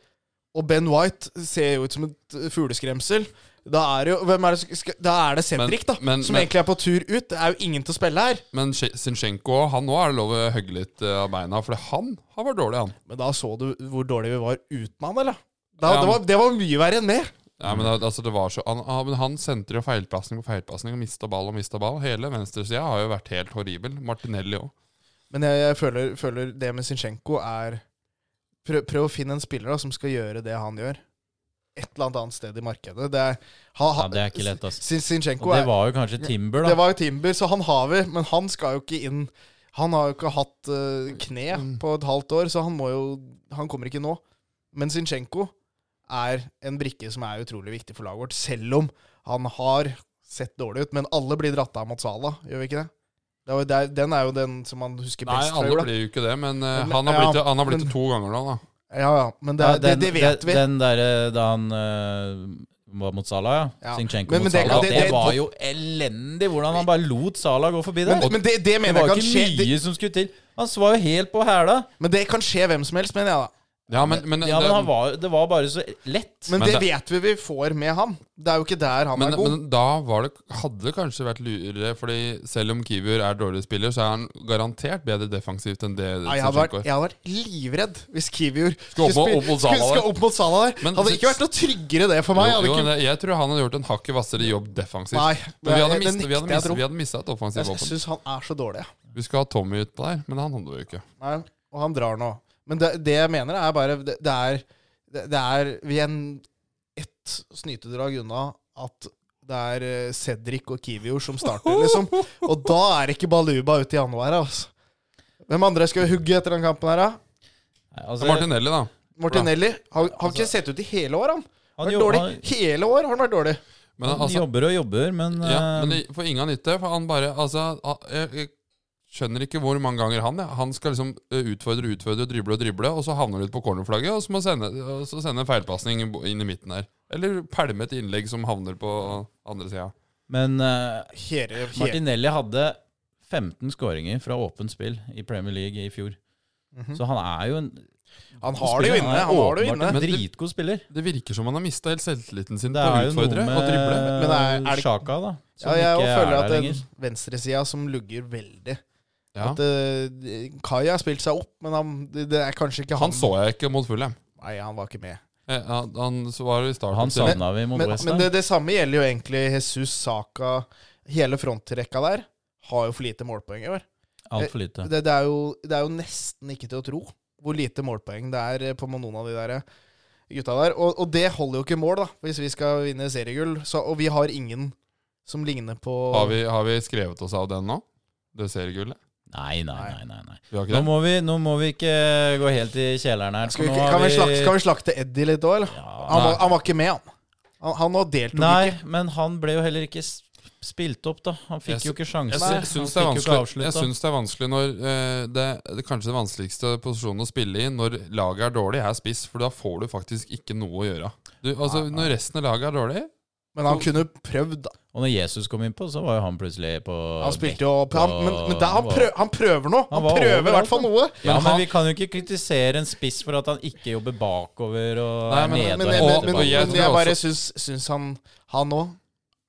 [SPEAKER 1] og Ben White ser jo ut som et eh, fugleskremsel. Da er, det jo, hvem er, det, som skal- da er det Cedric, da,
[SPEAKER 2] Men- men-
[SPEAKER 1] som
[SPEAKER 2] men-
[SPEAKER 1] egentlig er på tur ut. Det er jo ingen til å spille her.
[SPEAKER 2] Men Sh- Zinchenko han nå er det lov å hogge litt eh, av beina, for han har vært dårlig, han.
[SPEAKER 1] Men da så du hvor dårlig vi var uten han, eller? Da,
[SPEAKER 2] Ja,
[SPEAKER 1] det, var, det var mye verre enn med.
[SPEAKER 2] Ja, men, al- altså, det var så, han, han, men han sentrer jo feilpasning på feilpasning og mista ball og mista ball. Hele venstresida har jo vært helt horribel. Martinelli òg.
[SPEAKER 1] Men jeg, jeg føler, føler det med Zinchenko er prøv, prøv å finne en spiller da, som skal gjøre det han gjør. Et eller annet annet sted i markedet. Det er, ha, ha,
[SPEAKER 3] Ja, det er ikke lett, ass.
[SPEAKER 1] Zin-
[SPEAKER 3] Og
[SPEAKER 1] Zinchenko
[SPEAKER 3] det
[SPEAKER 1] er
[SPEAKER 3] var jo kanskje Timber,
[SPEAKER 1] Det
[SPEAKER 3] da.
[SPEAKER 1] var jo Timber, så han har vi, men han skal jo ikke inn. Han har jo ikke hatt eh, kne
[SPEAKER 3] Mm.
[SPEAKER 1] på et halvt år, så han må jo Han kommer ikke nå. Men Zinchenko er en brikke som er utrolig viktig for laget vårt, selv om han har sett dårlig ut. Men alle blir dratt av mot Salah, gjør vi ikke det? det, er jo der, den er jo den som man husker
[SPEAKER 2] Nei,
[SPEAKER 1] best fra
[SPEAKER 2] alle
[SPEAKER 1] jula.
[SPEAKER 2] blir jo ikke det, men eh,
[SPEAKER 1] Men-
[SPEAKER 2] han har blitt,
[SPEAKER 1] ja,
[SPEAKER 2] det- han har blitt
[SPEAKER 1] men-
[SPEAKER 2] det to ganger nå, da.
[SPEAKER 1] Ja, ja, men det,
[SPEAKER 3] Ja,
[SPEAKER 1] er- det,
[SPEAKER 3] den-
[SPEAKER 1] det vet
[SPEAKER 3] den-
[SPEAKER 1] vi.
[SPEAKER 3] Den derre da han eh, var mot Salah, ja.
[SPEAKER 1] Ja.
[SPEAKER 3] Zinchenko
[SPEAKER 1] Men- men
[SPEAKER 3] mot
[SPEAKER 1] det-
[SPEAKER 3] Salah.
[SPEAKER 1] det-
[SPEAKER 3] Det,
[SPEAKER 1] det-
[SPEAKER 3] var jo elendig hvordan han bare lot Salah gå forbi der.
[SPEAKER 1] Men, men det, det
[SPEAKER 3] det
[SPEAKER 1] mener jeg
[SPEAKER 3] var jo
[SPEAKER 1] kan skje.
[SPEAKER 3] ikke
[SPEAKER 1] Det,
[SPEAKER 3] mye som skulle til. Han var jo helt på hæla.
[SPEAKER 1] men det kan skje hvem som helst, mener jeg da.
[SPEAKER 2] Ja, men, men,
[SPEAKER 3] Ja, men han
[SPEAKER 2] det-
[SPEAKER 3] var, det var bare så lett.
[SPEAKER 1] Men,
[SPEAKER 2] Men
[SPEAKER 1] det,
[SPEAKER 2] det-
[SPEAKER 1] vet vi vi får med han. Det er jo ikke der han
[SPEAKER 2] men,
[SPEAKER 1] er god.
[SPEAKER 2] men da var det, hadde det kanskje vært lurere, Fordi selv om Kiwior er dårlig spiller, så er han garantert bedre defensivt enn det
[SPEAKER 1] Ja, jeg, hadde vært,
[SPEAKER 2] Zinchenko er.
[SPEAKER 1] jeg hadde vært livredd hvis Kiwior
[SPEAKER 2] Skulle opp mot-
[SPEAKER 1] spille-
[SPEAKER 2] opp mot Salah
[SPEAKER 1] skulle, skulle
[SPEAKER 2] der.
[SPEAKER 1] opp mot Sala der.
[SPEAKER 2] Men-
[SPEAKER 1] hadde ikke vært noe tryggere det for meg.
[SPEAKER 2] Jo,
[SPEAKER 1] hadde
[SPEAKER 2] jo,
[SPEAKER 1] ikke,
[SPEAKER 2] det- jeg tror han hadde gjort en hakket hvassere jobb defensivt.
[SPEAKER 1] Nei,
[SPEAKER 2] men vi hadde
[SPEAKER 1] det- det
[SPEAKER 2] mist- vi hadde
[SPEAKER 1] nekter jeg
[SPEAKER 2] mist-
[SPEAKER 1] tro.
[SPEAKER 2] vi hadde mista et offensivt
[SPEAKER 1] jeg
[SPEAKER 2] våpen.
[SPEAKER 1] syns han er så dårlig. jeg.
[SPEAKER 2] Vi skulle ha Tommy utpå der, men han hadde vi jo ikke.
[SPEAKER 1] Nei, og han drar nå. Men det, det jeg mener, er bare Det, det er det, det er Vi er en, ett snytedrag unna at det er eh, Cedric og Kiwior som starter, liksom. Og da er ikke Baluba ute i januar, altså. Hvem andre skal vi hugge etter den kampen her, da?
[SPEAKER 3] Nei, altså,
[SPEAKER 2] Martinelli, da.
[SPEAKER 1] Martinelli. Har, har
[SPEAKER 2] Altså-
[SPEAKER 1] ikke sett ut i hele år, han.
[SPEAKER 3] han,
[SPEAKER 1] Vært
[SPEAKER 3] jo,
[SPEAKER 1] dårlig.
[SPEAKER 3] han,
[SPEAKER 1] Hele år har han vært dårlig.
[SPEAKER 2] Men
[SPEAKER 3] han
[SPEAKER 2] altså,
[SPEAKER 3] jobber og jobber, men,
[SPEAKER 2] ja,
[SPEAKER 3] eh,
[SPEAKER 2] men det får ingen nytte. For han bare Altså, han- jeg, jeg skjønner ikke hvor mange ganger han ja. Han skal liksom eh, utfordre, utfordre, drible og drible, og så havner han ut på cornerflagget, og så må sende, og så sende en feilpasning inn i midten der. Eller pælme et innlegg som havner på andre sida.
[SPEAKER 3] men eh,
[SPEAKER 1] Hele, hele
[SPEAKER 3] Martinelli hadde 15 skåringer fra åpent spill i Premier League i fjor. Så han er jo en
[SPEAKER 1] Han Mhm. har det jo inne. Han har det jo inne.
[SPEAKER 3] åpenbart en
[SPEAKER 2] Men det-
[SPEAKER 3] dritgod spiller.
[SPEAKER 2] Det virker som han har mista helt selvtilliten sin
[SPEAKER 3] Det
[SPEAKER 2] til
[SPEAKER 3] er
[SPEAKER 2] å
[SPEAKER 3] jo noe
[SPEAKER 2] utfordre og drible.
[SPEAKER 1] Men er-
[SPEAKER 3] med
[SPEAKER 1] er det-
[SPEAKER 3] Sjaka, da.
[SPEAKER 1] Ja,
[SPEAKER 3] Som
[SPEAKER 1] jeg
[SPEAKER 3] ikke er
[SPEAKER 1] føler
[SPEAKER 3] der
[SPEAKER 1] at det
[SPEAKER 3] lenger.
[SPEAKER 1] er venstresida som lugger veldig.
[SPEAKER 2] Ja.
[SPEAKER 1] At eh, Kai har spilt seg opp, men han, det det er kanskje ikke han
[SPEAKER 2] Han så jeg ikke mot Fulham.
[SPEAKER 1] Nei, han var ikke med.
[SPEAKER 2] Eh, Han, han så var jo i starten
[SPEAKER 3] Han
[SPEAKER 2] til-
[SPEAKER 3] savna vi mot
[SPEAKER 1] Men,
[SPEAKER 3] West
[SPEAKER 1] men
[SPEAKER 3] Ham.
[SPEAKER 1] det, det samme gjelder jo egentlig Jesus, Saka Hele frontrekka der har jo for lite målpoeng i år.
[SPEAKER 3] Altfor lite.
[SPEAKER 1] Det, det, er jo, det er jo nesten ikke til å tro hvor lite målpoeng det er eh, på noen av de der eh, gutta der. Og, og det holder jo ikke mål, da, hvis vi skal vinne seriegull. Så, og vi har ingen som ligner på
[SPEAKER 2] Har vi, har vi skrevet oss av den nå? Det seriegullet?
[SPEAKER 3] Nei, nei, nei. nei, nei.
[SPEAKER 2] Vi har ikke
[SPEAKER 3] Nå
[SPEAKER 2] det?
[SPEAKER 3] må, vi, nå må vi ikke gå helt i kjelleren her. for
[SPEAKER 1] Skal vi,
[SPEAKER 3] nå
[SPEAKER 1] ikke-
[SPEAKER 3] har
[SPEAKER 1] kan, vi slakte, kan vi slakte Eddie litt òg, eller?
[SPEAKER 3] Ja,
[SPEAKER 1] han, var,
[SPEAKER 2] nei.
[SPEAKER 1] han var ikke med, han. Han, han nå deltok
[SPEAKER 3] nei,
[SPEAKER 1] ikke.
[SPEAKER 3] men han ble jo heller ikke s- spilt opp, da. Han
[SPEAKER 2] Jeg
[SPEAKER 3] fikk
[SPEAKER 2] sy-
[SPEAKER 3] jo ikke sjansen.
[SPEAKER 2] Jeg
[SPEAKER 3] Han
[SPEAKER 2] sy- syns det er
[SPEAKER 3] fikk jo ikke
[SPEAKER 2] vanskelig, jeg
[SPEAKER 3] avslutta.
[SPEAKER 2] syns det er vanskelig når eh, det, det kanskje den vanskeligste posisjonen å spille i når laget er dårlig, er spiss, for da får du faktisk ikke noe å gjøre. Du, altså, Når resten av laget er dårlig
[SPEAKER 1] Men han kunne prøvd, da.
[SPEAKER 3] Og når Jesus kom innpå, så var jo han plutselig på
[SPEAKER 1] Han spilte jo han, Men, men da, han,
[SPEAKER 3] var-
[SPEAKER 1] prøv, han prøver nå!
[SPEAKER 3] Han
[SPEAKER 1] Han,
[SPEAKER 3] var altså.
[SPEAKER 1] prøver i
[SPEAKER 3] overalt,
[SPEAKER 1] hvert fall noe!
[SPEAKER 3] Ja,
[SPEAKER 2] Men
[SPEAKER 3] men
[SPEAKER 2] han-
[SPEAKER 3] vi kan jo ikke kritisere en spiss for at han ikke jobber bakover og
[SPEAKER 2] Nei,
[SPEAKER 3] er
[SPEAKER 2] men-
[SPEAKER 3] nede
[SPEAKER 1] Men, men,
[SPEAKER 3] og
[SPEAKER 1] men,
[SPEAKER 3] henter
[SPEAKER 1] men,
[SPEAKER 2] og
[SPEAKER 1] men
[SPEAKER 3] ballen.
[SPEAKER 2] jeg tror
[SPEAKER 1] jeg bare
[SPEAKER 2] også-
[SPEAKER 1] syns, syns han Han nå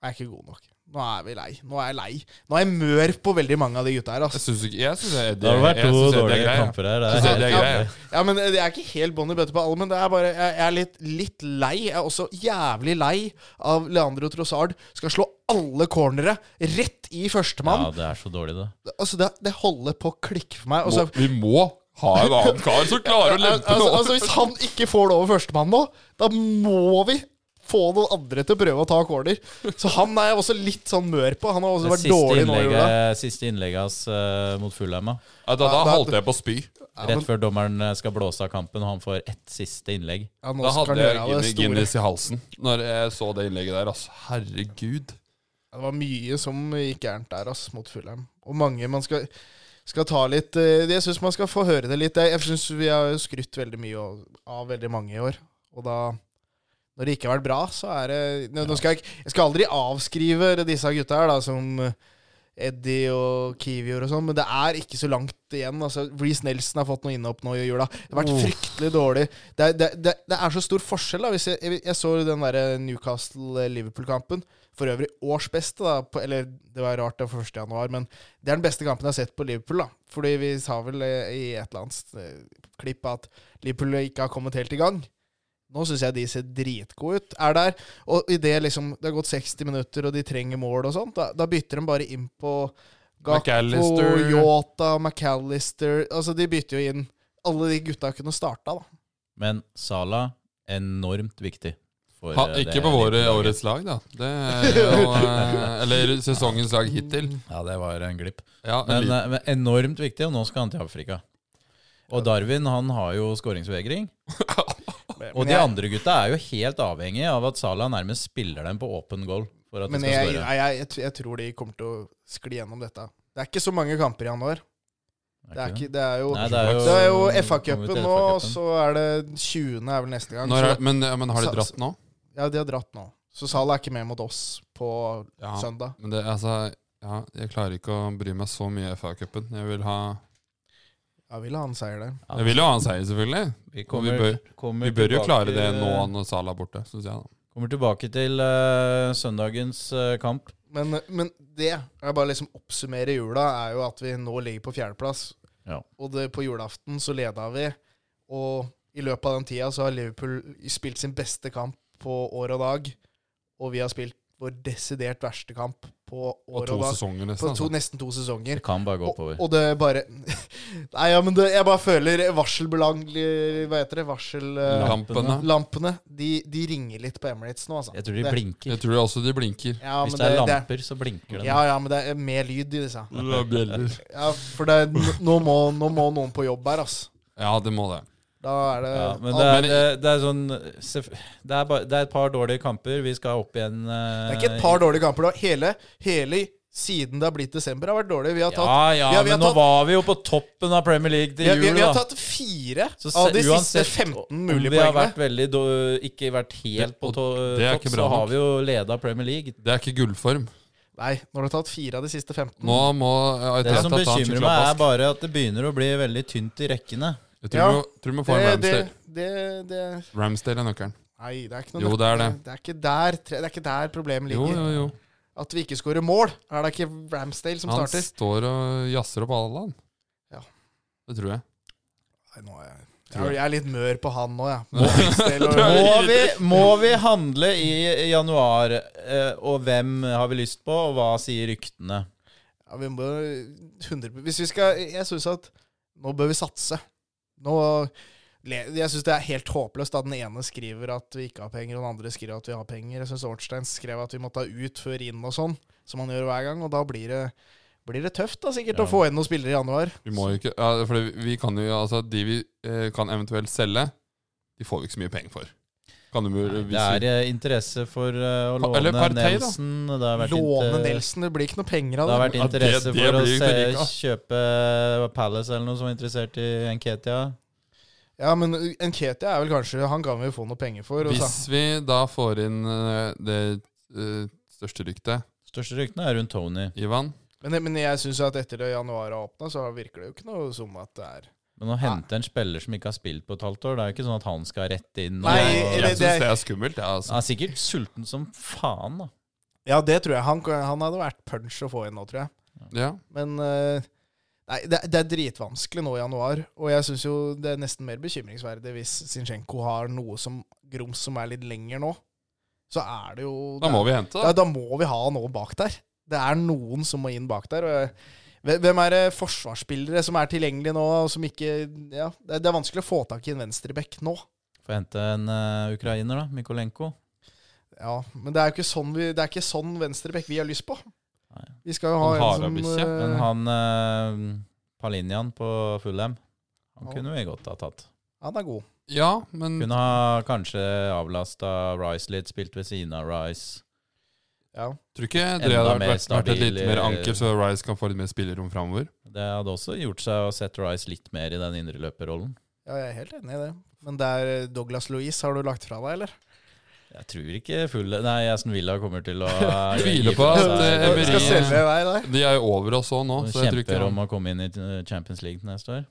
[SPEAKER 1] er ikke god nok. Nå er vi lei. Nå er jeg lei. Nå er jeg mør på veldig mange av de gutta her.
[SPEAKER 2] Jeg
[SPEAKER 1] Altså.
[SPEAKER 2] syns ikke Jeg syns
[SPEAKER 3] Det
[SPEAKER 2] Eddie,
[SPEAKER 3] har vært
[SPEAKER 2] jeg
[SPEAKER 3] to
[SPEAKER 2] synes Eddie er
[SPEAKER 3] dårlige
[SPEAKER 2] grei. jeg.
[SPEAKER 3] kamper her.
[SPEAKER 2] Synes jeg det
[SPEAKER 3] Det
[SPEAKER 2] er
[SPEAKER 3] er helt
[SPEAKER 2] grei.
[SPEAKER 3] jævlig.
[SPEAKER 1] Ja, men eh, Jeg er ikke helt bånn i bøtte på alle, men det er bare, jeg, jeg er litt, litt lei. Jeg er også jævlig lei av Leandro Trossard. Skal slå alle cornere rett i
[SPEAKER 3] Ja,
[SPEAKER 1] førstemann.
[SPEAKER 3] det er så dårlig, det.
[SPEAKER 1] Altså, det, det holder på å klikke for meg. Altså, Og så,
[SPEAKER 2] Må, vi må ha en annen kar som klarer å lempe
[SPEAKER 1] altså,
[SPEAKER 2] noe.
[SPEAKER 1] altså, hvis han ikke får det over førstemann nå, da må vi få noen andre til å prøve å ta corner. Så han er jeg også litt sånn mør på. Han har også
[SPEAKER 3] Det
[SPEAKER 1] vært
[SPEAKER 3] siste
[SPEAKER 1] dårlig nå i jula.
[SPEAKER 3] innlegget, siste innlegget hans eh, mot Fulheim, da.
[SPEAKER 2] Ja, da, da
[SPEAKER 1] da-
[SPEAKER 2] holdt jeg på å spy.
[SPEAKER 3] rett før dommeren eh, skal blåse av kampen, og han får ett siste innlegg.
[SPEAKER 1] Ja, nå
[SPEAKER 2] Da
[SPEAKER 1] skal
[SPEAKER 2] hadde
[SPEAKER 1] han
[SPEAKER 2] jeg
[SPEAKER 1] gjøre av det
[SPEAKER 2] Guinness-
[SPEAKER 1] store.
[SPEAKER 2] Guinness i halsen når jeg så det innlegget der. Altså. Herregud.
[SPEAKER 1] Ja, Det var mye som gikk gærent der, ass, mot Fulheim. Og mange man skal, skal ta litt eh, Jeg syns man skal få høre det litt. Jeg- Jeg syns vi har jo skrytt veldig mye av, av veldig mange i år. Og da Når det ikke har vært bra, så er det Nå, nå skal jeg, ikke- jeg skal aldri avskrive disse gutta her, da, som eh, Eddie og Kiwior og sånn, men det er ikke så langt igjen. Altså, Reece Nelson har fått noe innhopp nå i jula. Det har vært fryktelig dårlig. Det er, det, det, det er så stor forskjell, da. Hvis jeg, jeg, jeg så den derre Newcastle-Liverpool-kampen. For øvrig års beste, da. På, eller det var rart, det var 1. januar, men det er den beste kampen jeg har sett på Liverpool, da. Fordi vi sa vel eh, i et eller annet eh, klipp at Liverpool ikke har kommet helt i gang. Nå syns jeg de ser dritgode ut. Er der, og i det liksom det har gått 60 minutter, og de trenger mål og sånt, da, da bytter de bare inn på Gakpo,
[SPEAKER 2] McAllister.
[SPEAKER 1] Yota, McAllister Altså, de bytter jo inn alle de gutta kunne starta, da.
[SPEAKER 3] Men Sala, enormt viktig. for,
[SPEAKER 2] Ha,
[SPEAKER 3] eh,
[SPEAKER 2] ikke
[SPEAKER 3] det
[SPEAKER 2] på våre,
[SPEAKER 3] laget.
[SPEAKER 2] årets lag, da. Det er jo, eh, eller sesongens lag hittil.
[SPEAKER 3] Ja, det var en glipp.
[SPEAKER 2] Ja, en
[SPEAKER 3] Men,
[SPEAKER 2] liten.
[SPEAKER 3] eh, men enormt viktig, og nå skal han til Afrika. Og Darwin han har jo skåringsvegring.
[SPEAKER 1] Men-
[SPEAKER 3] Og
[SPEAKER 1] men
[SPEAKER 3] de
[SPEAKER 1] jeg-
[SPEAKER 3] andre gutta er jo helt avhengig av at Salah nærmest spiller dem på åpen goal. For at de
[SPEAKER 1] Men
[SPEAKER 3] skal
[SPEAKER 1] jeg,
[SPEAKER 3] skåre.
[SPEAKER 1] jeg, jeg, jeg, tror de kommer til å skli gjennom dette. Det er ikke så mange kamper i januar. Det er, ikke, det er jo,
[SPEAKER 3] Nei, det er jo-
[SPEAKER 1] det er jo
[SPEAKER 3] kommer
[SPEAKER 1] FA-cupen
[SPEAKER 3] til
[SPEAKER 1] nå, og
[SPEAKER 3] FA-cupen.
[SPEAKER 1] så er det 20. er vel neste gang.
[SPEAKER 2] Når er,
[SPEAKER 1] Så,
[SPEAKER 2] men, ja, men har de
[SPEAKER 1] Så-
[SPEAKER 2] dratt nå?
[SPEAKER 1] ja, de har dratt nå. Så Salah er ikke med mot oss på
[SPEAKER 2] Ja.
[SPEAKER 1] søndag.
[SPEAKER 2] Men det, altså, ja, jeg klarer ikke å bry meg så mye i FA-cupen. Jeg vil ha
[SPEAKER 1] Ja, vil ha en seier der.
[SPEAKER 3] Ja.
[SPEAKER 2] Jeg vil jo ha en seier, selvfølgelig.
[SPEAKER 3] Vi,
[SPEAKER 2] Vi bør-
[SPEAKER 3] kommer
[SPEAKER 2] Vi bør jo
[SPEAKER 3] tilbake-
[SPEAKER 2] klare det nå når Salah er borte, syns jeg. da
[SPEAKER 3] Kommer tilbake til eh, søndagens eh, kamp.
[SPEAKER 1] Men, men det jeg bare liksom oppsummerer jula, er jo at vi nå ligger på fjerdeplass.
[SPEAKER 3] Ja.
[SPEAKER 1] Og det, på julaften så leda vi, og i løpet av den tida så har Liverpool spilt sin beste kamp på år og dag. Og vi har spilt vår desidert verste kamp på
[SPEAKER 2] Og
[SPEAKER 1] år
[SPEAKER 2] to
[SPEAKER 1] og dag.
[SPEAKER 2] sesonger,
[SPEAKER 1] På
[SPEAKER 2] nesten.
[SPEAKER 1] to,
[SPEAKER 2] Altså.
[SPEAKER 1] nesten to sesonger.
[SPEAKER 3] Det kan bare gå oppover.
[SPEAKER 1] Og, og det bare Nei, ja, men det, jeg bare føler varselbelangelig Hva heter det? Varsellampene.
[SPEAKER 2] Kampene.
[SPEAKER 1] De, de ringer litt på Emirates nå, altså.
[SPEAKER 3] Jeg tror de
[SPEAKER 1] Det-
[SPEAKER 3] blinker.
[SPEAKER 2] Jeg tror også de blinker.
[SPEAKER 1] Ja,
[SPEAKER 3] Hvis
[SPEAKER 1] men
[SPEAKER 3] det er
[SPEAKER 1] det-
[SPEAKER 3] lamper, så blinker de.
[SPEAKER 1] Ja, ja, men det er mer lyd i disse.
[SPEAKER 2] Det er bjeller.
[SPEAKER 1] Ja, for det, er- nå, må, nå må noen på jobb her, altså.
[SPEAKER 2] Ja, det må det.
[SPEAKER 1] Da er det
[SPEAKER 3] Ja, men
[SPEAKER 1] Al-
[SPEAKER 3] det er,
[SPEAKER 2] men-
[SPEAKER 3] det, det er sånn seff- det er, bare, det er et par dårlige kamper. Vi skal opp igjen eh,
[SPEAKER 1] det er ikke et par dårlige kamper. da. Hele, hele siden det har blitt desember, har vært dårlig. Vi har tatt,
[SPEAKER 3] Ja, ja,
[SPEAKER 1] vi har- vi har
[SPEAKER 3] men nå
[SPEAKER 1] tatt-
[SPEAKER 3] var vi jo på toppen av Premier League til
[SPEAKER 1] vi, vi,
[SPEAKER 3] jul,
[SPEAKER 1] vi har
[SPEAKER 3] da.
[SPEAKER 1] tatt fire
[SPEAKER 3] Så
[SPEAKER 1] av de
[SPEAKER 3] se-
[SPEAKER 1] siste
[SPEAKER 3] uansett
[SPEAKER 1] 15
[SPEAKER 3] om
[SPEAKER 1] mulige
[SPEAKER 3] vi har
[SPEAKER 1] poengene.
[SPEAKER 3] vært veldig, do- ikke vært helt
[SPEAKER 2] Det-
[SPEAKER 3] på
[SPEAKER 2] og
[SPEAKER 3] to,
[SPEAKER 2] det er
[SPEAKER 3] topp,
[SPEAKER 2] ikke bra
[SPEAKER 3] så
[SPEAKER 2] nok.
[SPEAKER 3] har vi jo leda Premier League.
[SPEAKER 2] Det er ikke gullform.
[SPEAKER 1] Nei, når du har tatt fire av de siste 15
[SPEAKER 2] Nå må Arteta
[SPEAKER 3] Det som
[SPEAKER 2] ta en
[SPEAKER 3] bekymrer
[SPEAKER 2] skikkelig
[SPEAKER 3] meg, er
[SPEAKER 2] oppvask.
[SPEAKER 3] bare at det begynner å bli veldig tynt i rekkene.
[SPEAKER 2] Jeg
[SPEAKER 1] Ja,
[SPEAKER 2] tror vi- tror vi må få
[SPEAKER 1] det,
[SPEAKER 2] en
[SPEAKER 1] det,
[SPEAKER 2] Ramsdale.
[SPEAKER 1] det, det
[SPEAKER 2] Ramsdale er nøkkelen.
[SPEAKER 1] Nei, det er ikke noe
[SPEAKER 2] Jo, det er det.
[SPEAKER 1] Det er ikke der, tre- det er ikke der problemet
[SPEAKER 2] Jo,
[SPEAKER 1] ligger.
[SPEAKER 2] jo, jo.
[SPEAKER 1] At vi ikke skårer mål, er det ikke Ramsdale som
[SPEAKER 2] Han
[SPEAKER 1] starter.
[SPEAKER 2] står og jazzer opp alle land.
[SPEAKER 1] Ja.
[SPEAKER 2] Det tror jeg.
[SPEAKER 1] Nei, nå er jeg,
[SPEAKER 2] Tror jeg.
[SPEAKER 1] jeg er litt mør på han nå, jeg. Ramsdale og-
[SPEAKER 3] Må vi, må vi handle i januar? eh, Og hvem har vi lyst på, og hva sier ryktene?
[SPEAKER 1] Ja, vi må 100 Hvis vi skal Jeg syns at nå bør vi satse. Nå le- Jeg syns det er helt håpløst at den ene skriver at vi ikke har penger, og den andre skriver at vi har penger. Jeg syns Ornstein skrev at vi må ta ut før inn og sånn, som han gjør hver gang. Og da blir det, blir det tøft da sikkert
[SPEAKER 3] Ja.
[SPEAKER 1] å få inn noen spillere i januar.
[SPEAKER 2] Vi må jo ikke ja, For vi- vi kan jo Altså, de vi eh, kan eventuelt selge, de får vi ikke så mye penger for. Kan du
[SPEAKER 3] Nei,
[SPEAKER 2] mulig
[SPEAKER 3] Det er eh, interesse for eh, å
[SPEAKER 2] Pa- eller
[SPEAKER 3] låne
[SPEAKER 2] Partey, da.
[SPEAKER 3] Nelson. Det har vært
[SPEAKER 1] Låne
[SPEAKER 3] inter-
[SPEAKER 1] Nelson, det blir ikke noe penger av
[SPEAKER 3] Det har
[SPEAKER 1] det.
[SPEAKER 3] vært
[SPEAKER 2] Ja, det-
[SPEAKER 3] interesse
[SPEAKER 2] det
[SPEAKER 3] for å
[SPEAKER 2] blir jo
[SPEAKER 3] se,
[SPEAKER 2] ikke
[SPEAKER 3] kjøpe Palace eller noe som er interessert i Nketia.
[SPEAKER 1] Ja, men Nketia er vel kanskje Han kan vi jo få noe penger for. Og så.
[SPEAKER 2] Hvis vi da får inn eh, det eh, største ryktet,
[SPEAKER 3] Største ryktene er rundt Tony.
[SPEAKER 2] Ivan
[SPEAKER 1] Men, men jeg syns at etter det januar har åpna, så virker det jo ikke noe som at det er
[SPEAKER 3] Men å hente en spiller som ikke har spilt på et halvt år, det er jo ikke sånn at han skal rett inn. Og,
[SPEAKER 1] Nei,
[SPEAKER 2] Jeg
[SPEAKER 1] det-
[SPEAKER 2] syns det er skummelt, jeg, altså.
[SPEAKER 3] Han er sikkert sulten som faen, da.
[SPEAKER 1] Ja, det tror jeg. Han, han hadde vært punch å få inn nå, tror jeg.
[SPEAKER 2] Ja.
[SPEAKER 1] Men eh, nei, det, det er dritvanskelig nå i januar. Og jeg syns jo det er nesten mer bekymringsverdig hvis Zinchenko har noe som grums som er litt lenger nå. så er det jo
[SPEAKER 2] Da må vi hente,
[SPEAKER 1] da,
[SPEAKER 2] da.
[SPEAKER 1] da må vi ha noe bak der. Det er noen som må inn bak der. Og jeg, Hve- hvem er det forsvarsspillere som er tilgjengelige nå, og som ikke Ja, det, det er vanskelig å få tak i en venstreback nå.
[SPEAKER 3] Får hente en eh, ukrainer, da. Mikolenko.
[SPEAKER 1] Ja, men det er jo ikke sånn, vi, det er ikke sånn venstreback vi har lyst på.
[SPEAKER 3] Nei.
[SPEAKER 1] Vi skal jo ha
[SPEAKER 2] En
[SPEAKER 1] en, som
[SPEAKER 2] harabikkje,
[SPEAKER 1] eh,
[SPEAKER 3] Men han eh, Palinian på Fulham, han
[SPEAKER 1] Ja.
[SPEAKER 3] kunne vi godt ha tatt.
[SPEAKER 1] Han er god.
[SPEAKER 2] Ja, men
[SPEAKER 3] Kunne ha kanskje avlasta Rice litt, spilt ved siden av Rice.
[SPEAKER 1] Ja.
[SPEAKER 2] tror ikke
[SPEAKER 3] Enda
[SPEAKER 2] det hadde
[SPEAKER 3] mer
[SPEAKER 2] vært, vært et litt
[SPEAKER 3] stabil,
[SPEAKER 2] mer
[SPEAKER 3] eh,
[SPEAKER 2] anker, så Rice kan få litt mer spillerom framover.
[SPEAKER 3] Det hadde også gjort seg å sette Rice litt mer i den indre løperrollen.
[SPEAKER 1] ja, jeg er helt enig i det. Men det er eh, Douglas Louise har du lagt fra deg, eller?
[SPEAKER 3] Jeg tror ikke fulle Nei, Aston Villa kommer til å
[SPEAKER 2] Tviler på at, eh, Emery-
[SPEAKER 1] Skal selge deg der?
[SPEAKER 2] De er jo over oss òg nå,
[SPEAKER 3] Og
[SPEAKER 2] så jeg tror ikke
[SPEAKER 3] kjemper
[SPEAKER 2] han-
[SPEAKER 3] om å komme inn i eh, Champions League neste år.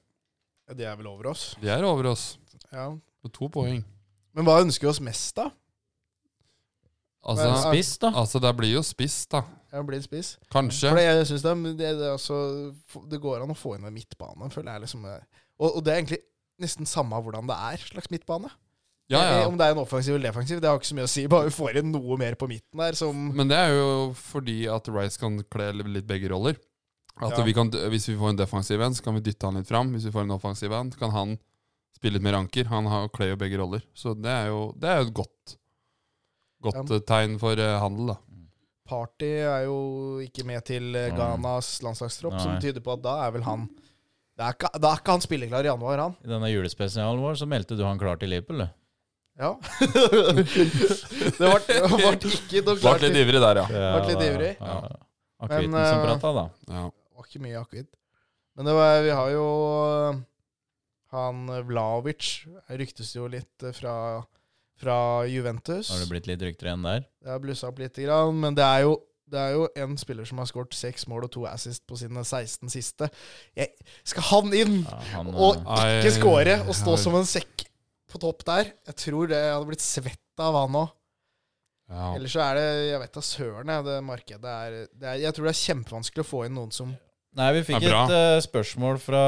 [SPEAKER 1] Ja, de er vel over oss.
[SPEAKER 2] De er over oss
[SPEAKER 1] Ja.
[SPEAKER 2] på to poeng.
[SPEAKER 1] Men hva ønsker vi oss mest, da?
[SPEAKER 2] Altså,
[SPEAKER 1] Men-
[SPEAKER 3] Spiss, da.
[SPEAKER 2] altså det blir jo spiss, da.
[SPEAKER 1] Ja, blir det spiss?
[SPEAKER 2] Kanskje.
[SPEAKER 1] For det, jeg synes det, er- det, det, er altså, det går an å få inn en midtbane, føler jeg. liksom. Og, og det er egentlig nesten samme hvordan det er, slags midtbane.
[SPEAKER 2] Ja, ja.
[SPEAKER 1] Om det er en offensiv eller defensiv, det har ikke så mye å si. Bare vi får inn noe mer på midten der som
[SPEAKER 2] Men det er jo fordi at Rice kan kle litt begge roller. At
[SPEAKER 1] Ja.
[SPEAKER 2] vi kan, Hvis vi får en defensiv en, så kan vi dytte han litt fram. Hvis vi får en offensiv en, kan han spille litt mer anker. Han har- kler jo begge roller. Så det er jo, det er jo et godt, godt
[SPEAKER 1] Ja.
[SPEAKER 2] eh, tegn for eh, handel, da.
[SPEAKER 1] Party er jo ikke med til eh,
[SPEAKER 3] Nei.
[SPEAKER 1] Ghanas landslagstropp, som
[SPEAKER 3] Nei.
[SPEAKER 1] tyder på at da er vel han Da er ikke, da er ikke han spilleklar i januar, han.
[SPEAKER 3] I denne julespesialen vår så meldte du han klar til Liverpool, du.
[SPEAKER 1] Ja. det ble, ble ikke noe
[SPEAKER 2] Vart
[SPEAKER 1] klart.
[SPEAKER 2] litt
[SPEAKER 1] Det
[SPEAKER 2] ivrig der, ja.
[SPEAKER 1] Vært litt ivrig.
[SPEAKER 3] Ja. ja.
[SPEAKER 1] Men,
[SPEAKER 3] Akevitten som
[SPEAKER 1] eh,
[SPEAKER 3] prata, da.
[SPEAKER 2] ja.
[SPEAKER 1] var ikke mye akevitt. Men det var, vi har jo eh, han Vlaovic ryktes jo litt eh, fra, fra Juventus.
[SPEAKER 3] Har det blitt litt rykter igjen der?
[SPEAKER 1] Det har blussa opp lite grann, men det er jo det er jo en spiller som har skåret seks mål og to assist på sine 16 siste. Jeg, skal han inn
[SPEAKER 3] Ja, han,
[SPEAKER 1] og
[SPEAKER 3] eh,
[SPEAKER 2] Nei,
[SPEAKER 1] ikke skåre og
[SPEAKER 2] ja.
[SPEAKER 1] stå som en sekk på topp der? Jeg tror det hadde blitt svett av han òg.
[SPEAKER 2] ja.
[SPEAKER 1] Ellers så er det Jeg vet da søren, jeg. Det markedet er, det er Jeg tror det er kjempevanskelig å få inn noen som
[SPEAKER 3] Nei, vi fikk
[SPEAKER 2] er bra.
[SPEAKER 3] et eh, spørsmål fra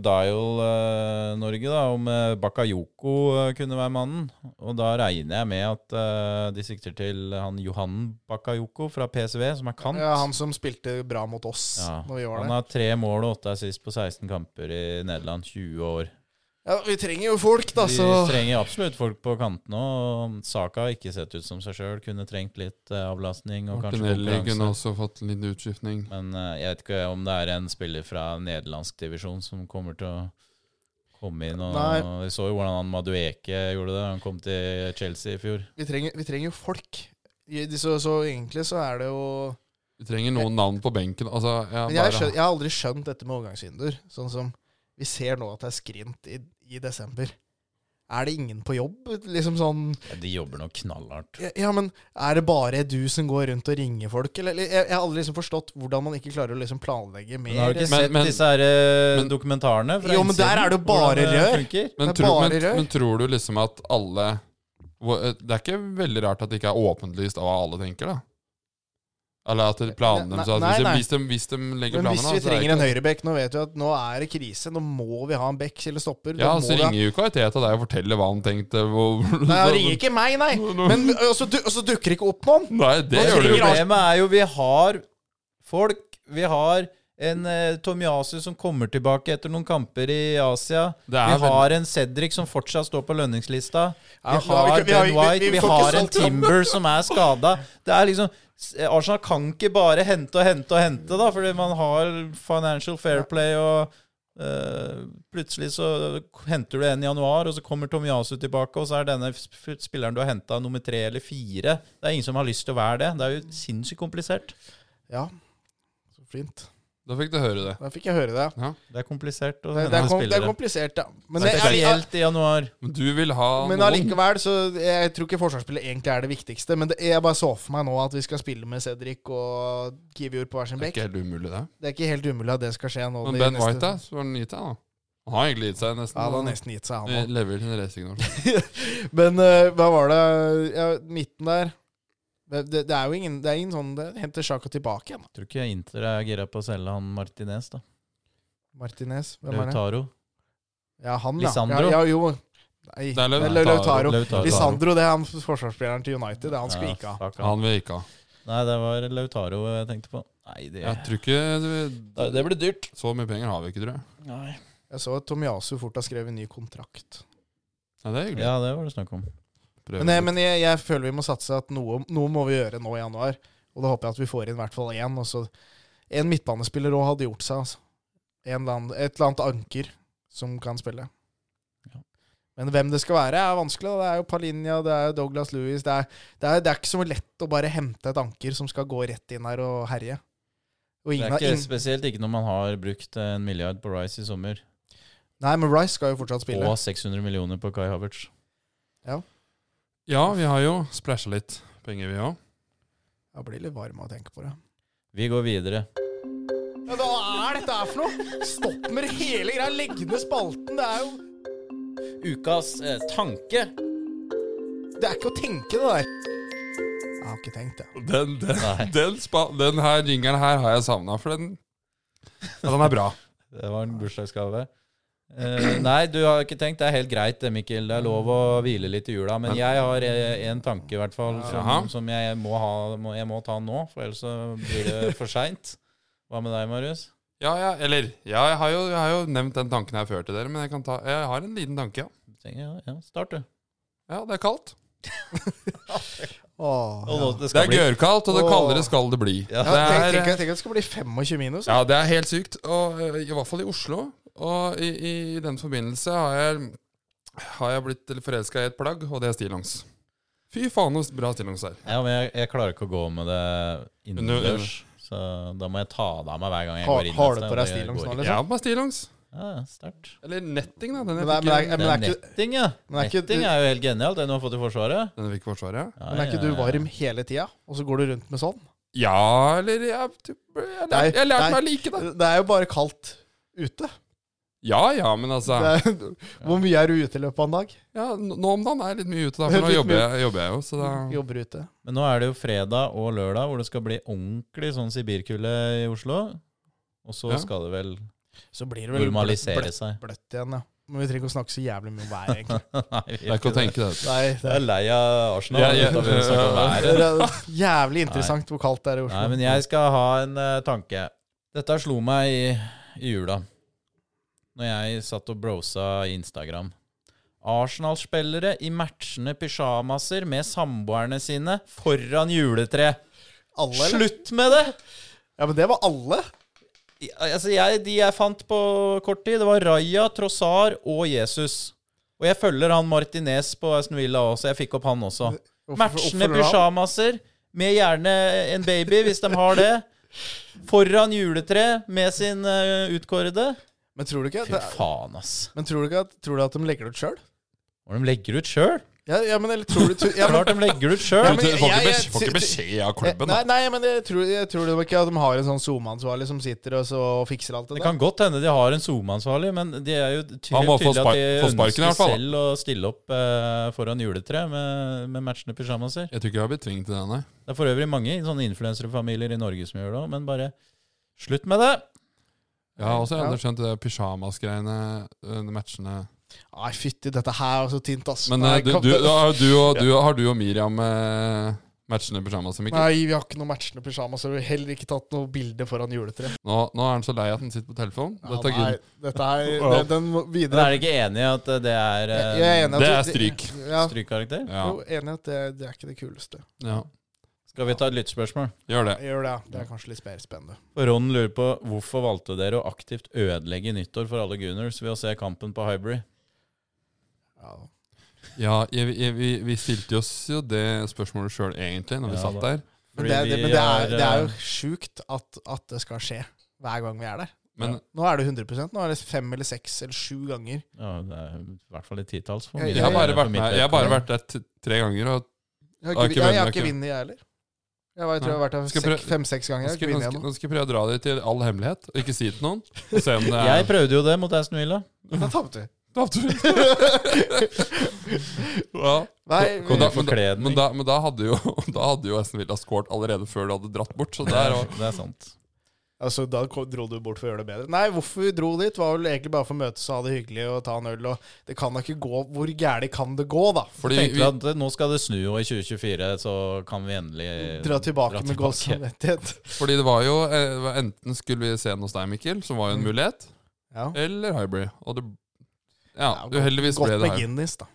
[SPEAKER 3] Dial eh, Norge da, om eh, Bakayoko eh, kunne være mannen. Og da regner jeg med at eh, de sikter til han Johan Bakayoko fra PSV, som er kant.
[SPEAKER 1] Ja, han som spilte bra mot oss
[SPEAKER 3] Ja,
[SPEAKER 1] når vi var
[SPEAKER 3] Han
[SPEAKER 1] der.
[SPEAKER 3] har tre mål og åtte assist på 16 kamper i Nederland, 20 år.
[SPEAKER 1] Ja, vi trenger jo folk, da,
[SPEAKER 3] Vi
[SPEAKER 1] så
[SPEAKER 3] trenger absolutt folk på kantene, og Saka har ikke sett ut som seg sjøl. Kunne trengt litt eh, avlastning og kanskje
[SPEAKER 2] Martinelli kunne
[SPEAKER 3] konkurranse.
[SPEAKER 2] også fått en liten utskiftning.
[SPEAKER 3] Men eh, jeg vet ikke om det er en spiller fra nederlandsk divisjon som kommer til å komme inn. Og,
[SPEAKER 1] Nei.
[SPEAKER 3] og Vi så jo hvordan han Madueke gjorde det. Han kom til Chelsea i fjor.
[SPEAKER 1] vi trenger, vi trenger jo folk. I- de- Så, så egentlig så er det jo
[SPEAKER 2] Vi trenger noen navn på benken. Altså, ja,
[SPEAKER 1] Men jeg,
[SPEAKER 2] bare-
[SPEAKER 1] skjøn, jeg har aldri skjønt dette med overgangsvinduer. Sånn som vi ser nå at det er skrint i, i desember. Er det ingen på jobb? Liksom sånn
[SPEAKER 3] Ja, De jobber nok knallhardt.
[SPEAKER 1] Ja, men er det bare du som går rundt og ringer folk, eller? eller Jeg, jeg har aldri liksom forstått hvordan man ikke klarer å liksom planlegge mer.
[SPEAKER 3] Men har du ikke
[SPEAKER 2] Men-
[SPEAKER 3] sett
[SPEAKER 2] men-
[SPEAKER 3] disse her, eh,
[SPEAKER 2] men-
[SPEAKER 3] dokumentarene? Fra
[SPEAKER 1] Jo, men der
[SPEAKER 3] innsiden?
[SPEAKER 1] er det jo bare
[SPEAKER 3] Hvordan det
[SPEAKER 1] rør.
[SPEAKER 3] funker?
[SPEAKER 2] Men,
[SPEAKER 1] Det er
[SPEAKER 2] tror,
[SPEAKER 1] bare
[SPEAKER 2] men,
[SPEAKER 1] rør.
[SPEAKER 2] men tror du liksom at alle hvor- eh, Det er ikke veldig rart at det ikke er åpenlyst av hva alle tenker, da? Eller at det- planene
[SPEAKER 1] Nei,
[SPEAKER 2] deres at
[SPEAKER 1] nei,
[SPEAKER 2] hvis, de-
[SPEAKER 1] nei.
[SPEAKER 2] hvis, de, hvis de legger
[SPEAKER 1] Men
[SPEAKER 2] planene
[SPEAKER 1] hvis vi
[SPEAKER 2] da, så er det
[SPEAKER 1] trenger en
[SPEAKER 2] ikke-
[SPEAKER 1] høyrebekk Nå vet vi at nå er det krise. Nå må vi ha en bekk eller stopper.
[SPEAKER 2] Ja,
[SPEAKER 1] da må vi
[SPEAKER 2] så
[SPEAKER 1] ha-
[SPEAKER 2] ringer jo ikke Teta deg og forteller hva han tenkte. Hvor,
[SPEAKER 1] Nei, han ringer ikke meg, nei! Men og så du- og så dukker det ikke opp noen!
[SPEAKER 2] Nei, det
[SPEAKER 1] Nå
[SPEAKER 2] gjør du
[SPEAKER 1] ringer
[SPEAKER 2] ikke.
[SPEAKER 1] han.
[SPEAKER 3] Problemet er jo vi har folk. Vi har en eh, Tomiyasu som kommer tilbake etter noen kamper i Asia.
[SPEAKER 2] Det er
[SPEAKER 3] Vi
[SPEAKER 2] vel-
[SPEAKER 3] har en Cedric som fortsatt står på lønningslista.
[SPEAKER 1] Ja,
[SPEAKER 3] Vi
[SPEAKER 1] men vi
[SPEAKER 3] har
[SPEAKER 1] kan- vi har-
[SPEAKER 3] Ben
[SPEAKER 1] vi-
[SPEAKER 3] White.
[SPEAKER 1] vi
[SPEAKER 3] Vi
[SPEAKER 1] får ikke sånn-
[SPEAKER 3] har en
[SPEAKER 1] solgt ham.
[SPEAKER 3] Timber som er skada. Det er liksom s- Arsenal kan ikke bare hente og hente og hente, da, fordi man har Financial Fair Play og eh, plutselig så henter du en i januar, og så kommer Tomiyasu tilbake, og så er denne sp- spilleren du har henta, nummer tre eller fire. Det er ingen som har lyst til å være det. Det er jo sinnssykt komplisert.
[SPEAKER 1] Ja, så flint.
[SPEAKER 2] Da fikk du høre det.
[SPEAKER 1] Da fikk jeg høre det.
[SPEAKER 3] Det er komplisert å
[SPEAKER 1] Det,
[SPEAKER 3] hente
[SPEAKER 1] det, er, kom, det er
[SPEAKER 3] spillere.
[SPEAKER 1] komplisert, ja. Men, det, er-
[SPEAKER 3] Spesielt i januar.
[SPEAKER 2] Men du vil ha
[SPEAKER 1] men
[SPEAKER 2] noen
[SPEAKER 1] allikevel, så jeg tror ikke forsvarsspillet egentlig er det viktigste. Men det, jeg bare så for meg nå at vi skal spille med Cedric og Kivior på hver sin
[SPEAKER 2] Det er
[SPEAKER 1] bekk.
[SPEAKER 2] ikke helt umulig, det.
[SPEAKER 1] Det er ikke helt umulig at det skal skje nå.
[SPEAKER 2] Men
[SPEAKER 1] de
[SPEAKER 2] Ben
[SPEAKER 1] neste-
[SPEAKER 2] White, da? Så har han gitt seg, da. Han har egentlig gitt seg, nesten.
[SPEAKER 1] Ja, han har nesten gitt seg,
[SPEAKER 2] Vi
[SPEAKER 1] han òg.
[SPEAKER 2] lever til racing nå.
[SPEAKER 1] Men eh, hva var det ja, Midten der det, det, det er jo ingen, det er ingen sånn det Henter Sjaka tilbake igjen, da.
[SPEAKER 3] Tror ikke Inter er gira på å selge han Martinez, da.
[SPEAKER 1] Martinez. Hvem er det?
[SPEAKER 3] Lautaro.
[SPEAKER 1] Ja, han, ja.
[SPEAKER 3] Lisandro.
[SPEAKER 1] ja. ja jo. Nei,
[SPEAKER 2] Det er Lau-
[SPEAKER 1] det er Lau- Lautaro.
[SPEAKER 3] Lautaro.
[SPEAKER 1] Lissandro det er han forsvarsspilleren til United. Det er han skulle ikke ha.
[SPEAKER 3] Ja, fuck han.
[SPEAKER 2] Han vil ikke ha.
[SPEAKER 3] Nei, det var Lautaro jeg tenkte på. Nei, det,
[SPEAKER 2] Jeg tror ikke du-
[SPEAKER 3] det blir dyrt.
[SPEAKER 2] Så mye penger har vi ikke, tror jeg.
[SPEAKER 3] Nei.
[SPEAKER 1] Jeg så at Tomiyasu fort har skrevet ny kontrakt.
[SPEAKER 2] Nei, det er hyggelig.
[SPEAKER 3] Ja, det var det snakk om.
[SPEAKER 2] Prøver
[SPEAKER 1] Men, jeg, men jeg, jeg føler vi må satse at noe, noe må vi gjøre nå i januar. Og da håper jeg at vi får inn i hvert fall én. og så- En midtbanespiller òg hadde gjort seg. Altså. En eller annen, et eller annet anker som kan spille.
[SPEAKER 3] Ja.
[SPEAKER 1] Men hvem det skal være, er vanskelig. da. Det er jo Palinja, det er jo Douglas Lewis. Det er, det, er, det er ikke så lett å bare hente et anker som skal gå rett inn her og herje. Og
[SPEAKER 3] Det
[SPEAKER 1] ingen,
[SPEAKER 3] er
[SPEAKER 1] har-
[SPEAKER 3] ikke
[SPEAKER 1] ingen,
[SPEAKER 3] spesielt ikke når man har brukt en milliard på Rice i sommer,
[SPEAKER 1] nei, men Rice skal jo fortsatt spille.
[SPEAKER 3] og 600 millioner på Kai Havertz.
[SPEAKER 2] Ja, vi har jo splæsja litt penger, vi òg.
[SPEAKER 1] Jeg blir litt varm av å tenke på det.
[SPEAKER 3] Vi går videre.
[SPEAKER 1] Ja, hva er dette her for noe? Stopp med det hele greia. Legg ned spalten. Det er jo
[SPEAKER 3] Ukas tanke.
[SPEAKER 1] Det er ikke å tenke, det der. Jeg har ikke tenkt, jeg.
[SPEAKER 2] Den, den,
[SPEAKER 3] Nei.
[SPEAKER 2] den, spa, den her ringeren her har jeg savna, for den Ja, den er bra.
[SPEAKER 3] Det var en bursdagsgave. Eh, nei, du har ikke tenkt. Det er helt greit, det, Mikkel. Det er lov å hvile litt i jula. Men jeg har eh, en tanke, i hvert fall,
[SPEAKER 2] Jaha.
[SPEAKER 3] som, som jeg, må ha, må, jeg må ta nå. For ellers så blir det for seint. Hva med deg, Marius?
[SPEAKER 2] Ja, ja, eller ja, jeg, har jo, jeg har jo nevnt den tanken her før til dere, men jeg, kan ta, jeg har en liten tanke, ja.
[SPEAKER 3] Tenker jeg, Ja, start, du.
[SPEAKER 2] Ja, Det er kaldt.
[SPEAKER 1] Åh, ja.
[SPEAKER 2] Det er gørkaldt, og det
[SPEAKER 1] Åh.
[SPEAKER 2] kaldere skal det bli.
[SPEAKER 3] Ja,
[SPEAKER 1] Ja, tenk,
[SPEAKER 2] det,
[SPEAKER 1] tenk,
[SPEAKER 2] er,
[SPEAKER 1] tenk at det skal bli 25 minus.
[SPEAKER 2] ja, det er helt sykt. Og, eh, I hvert fall i Oslo. Og i, i den forbindelse har jeg, har jeg blitt forelska i et plagg, og det er stillongs. Fy faen, så bra stillongs det er.
[SPEAKER 3] Ja, men jeg, jeg klarer ikke å gå med det innendørs. Så da må jeg ta det av meg hver gang jeg
[SPEAKER 1] Har-
[SPEAKER 3] går inn.
[SPEAKER 1] har
[SPEAKER 3] et
[SPEAKER 1] du
[SPEAKER 3] sted,
[SPEAKER 1] på deg sånn,
[SPEAKER 3] og det
[SPEAKER 1] stillongs
[SPEAKER 3] går
[SPEAKER 1] nå,
[SPEAKER 3] ikke.
[SPEAKER 1] eller?
[SPEAKER 2] Ja, bare stillongs.
[SPEAKER 3] Ja, ja, sterkt.
[SPEAKER 2] Eller netting, da. Den
[SPEAKER 1] Men
[SPEAKER 2] jeg
[SPEAKER 1] det er-
[SPEAKER 2] fikk,
[SPEAKER 1] men det er-
[SPEAKER 2] i-
[SPEAKER 1] men det er ikke-
[SPEAKER 3] netting, ja.
[SPEAKER 1] men det er ikke-
[SPEAKER 3] netting er jo helt genialt, det du har fått i Forsvaret.
[SPEAKER 2] den jeg fikk i Forsvaret.
[SPEAKER 3] Ja,
[SPEAKER 1] Men er ikke
[SPEAKER 3] ja,
[SPEAKER 1] du
[SPEAKER 3] ja.
[SPEAKER 1] varm hele tida, og så går du rundt med sånn?
[SPEAKER 2] Ja, eller Jeg, jeg,
[SPEAKER 1] Nei,
[SPEAKER 2] lærte- jeg lærte
[SPEAKER 1] nei.
[SPEAKER 2] meg å like det.
[SPEAKER 1] Det er jo bare kaldt ute.
[SPEAKER 2] Ja, ja, men altså
[SPEAKER 1] Det er, hvor mye er du ute i løpet av en dag?
[SPEAKER 2] ja, n- Nå om dagen er jeg litt mye ute, da, for nå
[SPEAKER 1] Litt
[SPEAKER 2] jobber jeg, jobber jeg jo. Så da
[SPEAKER 1] Jobber ute.
[SPEAKER 3] Men nå er det jo fredag og lørdag hvor det skal bli ordentlig sånn sibirkulde i Oslo. Og så
[SPEAKER 2] Ja.
[SPEAKER 3] skal det vel
[SPEAKER 1] Så blir det vel bløtt,
[SPEAKER 3] normalisere
[SPEAKER 1] bløtt,
[SPEAKER 3] seg.
[SPEAKER 1] bløtt igjen, ja. Men vi trenger ikke å snakke så jævlig mye om været, egentlig.
[SPEAKER 3] Nei, vi
[SPEAKER 2] det er ikke å tenke det.
[SPEAKER 1] Nei,
[SPEAKER 3] Jeg er lei av Arsenal.
[SPEAKER 2] Ja, ja,
[SPEAKER 3] uten å begynne å snakke om
[SPEAKER 2] ja,
[SPEAKER 3] været.
[SPEAKER 1] det er jævlig interessant hvor kaldt det er i Oslo.
[SPEAKER 3] Nei, men jeg skal ha en eh, tanke. Dette slo meg i, i jula. Når jeg satt og brosa i Instagram. Arsenal-spillere i matchende pysjamaser med samboerne sine foran juletre.
[SPEAKER 1] alle, eller?
[SPEAKER 3] Slutt med det!
[SPEAKER 1] Ja, men det var alle.
[SPEAKER 3] I- Altså jeg, De jeg fant på kort tid, det var Raja, Trossar og Jesus. Og jeg følger han Martinez på Aston Villa også, jeg fikk opp han også.
[SPEAKER 1] Hvorfor-
[SPEAKER 3] Matchende
[SPEAKER 1] hvorfor da?
[SPEAKER 3] pysjamaser, med gjerne en baby, hvis de har det. Foran juletre med sin eh, utkårede.
[SPEAKER 1] Men tror du ikke,
[SPEAKER 3] Fy
[SPEAKER 1] det,
[SPEAKER 3] faen, ass.
[SPEAKER 1] men tror du ikke at, tror du at de legger det ut sjøl?
[SPEAKER 3] Og de legger ut sjøl.
[SPEAKER 1] Ja, ja, men eller tror du tror- ja, men,
[SPEAKER 3] Klart de legger ut
[SPEAKER 1] Ja,
[SPEAKER 3] sjøl.
[SPEAKER 1] men
[SPEAKER 2] Du får ikke
[SPEAKER 1] jeg-
[SPEAKER 2] beskjed, får
[SPEAKER 1] jeg-
[SPEAKER 2] ikke beskjed av klubben, da.
[SPEAKER 1] Nei, nei, men jeg tror, jeg tror det var ikke at de har en sånn SoMe-ansvarlig som sitter og, så, og fikser alt det,
[SPEAKER 3] Det
[SPEAKER 1] der.
[SPEAKER 3] kan godt hende de har en SoMe-ansvarlig, men de er jo ty
[SPEAKER 2] Han må få
[SPEAKER 3] tydelig at de
[SPEAKER 2] spark- få sparken i hvert
[SPEAKER 3] ønsker
[SPEAKER 2] fall, da.
[SPEAKER 3] selv å stille opp eh, foran juletre med, med matchende pysjamaser.
[SPEAKER 2] Jeg tror ikke jeg har blitt tvunget til det, nei.
[SPEAKER 3] Det er for øvrig mange sånne influenserfamilier i Norge som gjør det òg, men bare slutt med det!
[SPEAKER 2] Jeg har også
[SPEAKER 1] Ja.
[SPEAKER 2] aldri skjønt det pysjamasgreiene, øh, de matchene
[SPEAKER 1] Nei, fytti, dette her er så tynt, ass.
[SPEAKER 2] Men
[SPEAKER 1] nei,
[SPEAKER 2] øh, du,
[SPEAKER 1] kan-
[SPEAKER 2] du, da har du, og, du, har du og Miriam eh, matchende pysjamaser, Mikkel?
[SPEAKER 1] Nei, vi har ikke noe matchende pysjamas. Og vi har heller ikke tatt noe bilde foran juletreet.
[SPEAKER 2] Nå, nå er han så lei at han sitter på telefonen. Dette er
[SPEAKER 1] Ja, nei,
[SPEAKER 2] gud.
[SPEAKER 1] dette er
[SPEAKER 2] Ja.
[SPEAKER 1] det, den må
[SPEAKER 3] Men er
[SPEAKER 1] videre.
[SPEAKER 3] dere ikke enig i at det er eh,
[SPEAKER 1] enig at
[SPEAKER 2] det er
[SPEAKER 1] du-
[SPEAKER 2] stryk.
[SPEAKER 1] Ja,
[SPEAKER 3] strykkarakter?
[SPEAKER 2] Ja,
[SPEAKER 1] jo, enig i at det, det er ikke det kuleste.
[SPEAKER 2] ja,
[SPEAKER 3] Skal vi ta et lyttspørsmål?
[SPEAKER 2] gjør det.
[SPEAKER 1] Gjør det, ja. Det er kanskje litt mer spennende.
[SPEAKER 3] Og Ron lurer på hvorfor valgte dere å aktivt ødelegge nyttår for alle Gunners ved å se kampen på Hybrid?
[SPEAKER 1] Ja.
[SPEAKER 2] Ja, jeg, jeg, vi, vi stilte oss jo det spørsmålet sjøl, egentlig, når vi
[SPEAKER 3] Ja,
[SPEAKER 2] satt
[SPEAKER 3] da.
[SPEAKER 2] der.
[SPEAKER 1] Men,
[SPEAKER 3] Fordi
[SPEAKER 1] det, er- det,
[SPEAKER 3] vi
[SPEAKER 1] men det, er, det er jo
[SPEAKER 3] eh,
[SPEAKER 1] sjukt at, at det skal skje hver gang vi er der.
[SPEAKER 2] Men
[SPEAKER 1] Nå er det 100 Nå er det fem eller seks eller sju ganger.
[SPEAKER 3] ja, det er i hvert fall et titalls. for
[SPEAKER 1] Jeg-
[SPEAKER 3] min
[SPEAKER 2] jeg har
[SPEAKER 3] del,
[SPEAKER 2] bare
[SPEAKER 3] for
[SPEAKER 2] vært,
[SPEAKER 3] mitt
[SPEAKER 2] med, jeg har bare
[SPEAKER 3] vedkommende.
[SPEAKER 2] vært der t- tre ganger, og
[SPEAKER 1] Jeg har
[SPEAKER 2] Har
[SPEAKER 1] ikke, jeg,
[SPEAKER 2] ikke
[SPEAKER 1] jeg
[SPEAKER 2] vunnet,
[SPEAKER 1] har ikke
[SPEAKER 2] ikke?
[SPEAKER 1] vunnet, jeg heller. Jeg, vet, jeg har vært
[SPEAKER 2] Skal
[SPEAKER 1] der
[SPEAKER 2] prøve-
[SPEAKER 1] fem-seks ganger.
[SPEAKER 2] Nå
[SPEAKER 1] Jeg har
[SPEAKER 2] skal,
[SPEAKER 1] ikke
[SPEAKER 2] nå,
[SPEAKER 1] vunnet
[SPEAKER 2] skal,
[SPEAKER 1] ennå.
[SPEAKER 2] nå skal jeg prøve å dra det til all hemmelighet, og ikke si det til noen. Og se om det er
[SPEAKER 3] Jeg prøvde jo det mot Aston Villa.
[SPEAKER 1] Men Da tapte vi.
[SPEAKER 2] Tapte vi. ja.
[SPEAKER 1] Nei,
[SPEAKER 2] Men da,
[SPEAKER 1] vi,
[SPEAKER 2] men, da,
[SPEAKER 3] Forkledning.
[SPEAKER 2] men, da, men da hadde jo Da hadde jo Aston Villa scoret allerede før du hadde dratt bort. Så der, og,
[SPEAKER 3] Det er sant.
[SPEAKER 1] Altså, da ko- dro du bort for å gjøre det bedre. Nei, hvorfor vi dro dit, var vel egentlig bare for å møtes og ha det hyggelig og ta en øl. Og det kan da ikke gå Hvor gærent kan det gå, da?
[SPEAKER 2] Fordi
[SPEAKER 3] Tenkte
[SPEAKER 2] vi,
[SPEAKER 3] vi at eh, nå skal det snu, og i 2024 så kan vi endelig
[SPEAKER 1] Dra tilbake
[SPEAKER 3] dra
[SPEAKER 1] med god samvittighet.
[SPEAKER 2] fordi det var jo eh, det var Enten skulle vi se den hos deg, Mikkel, som var jo en
[SPEAKER 3] Mm.
[SPEAKER 2] mulighet,
[SPEAKER 1] Ja.
[SPEAKER 2] eller Hybrid. Og det Ja,
[SPEAKER 1] Ja,
[SPEAKER 2] uheldigvis ble
[SPEAKER 1] Godt
[SPEAKER 2] det
[SPEAKER 1] med
[SPEAKER 2] Hybrid.
[SPEAKER 1] Guinness, da.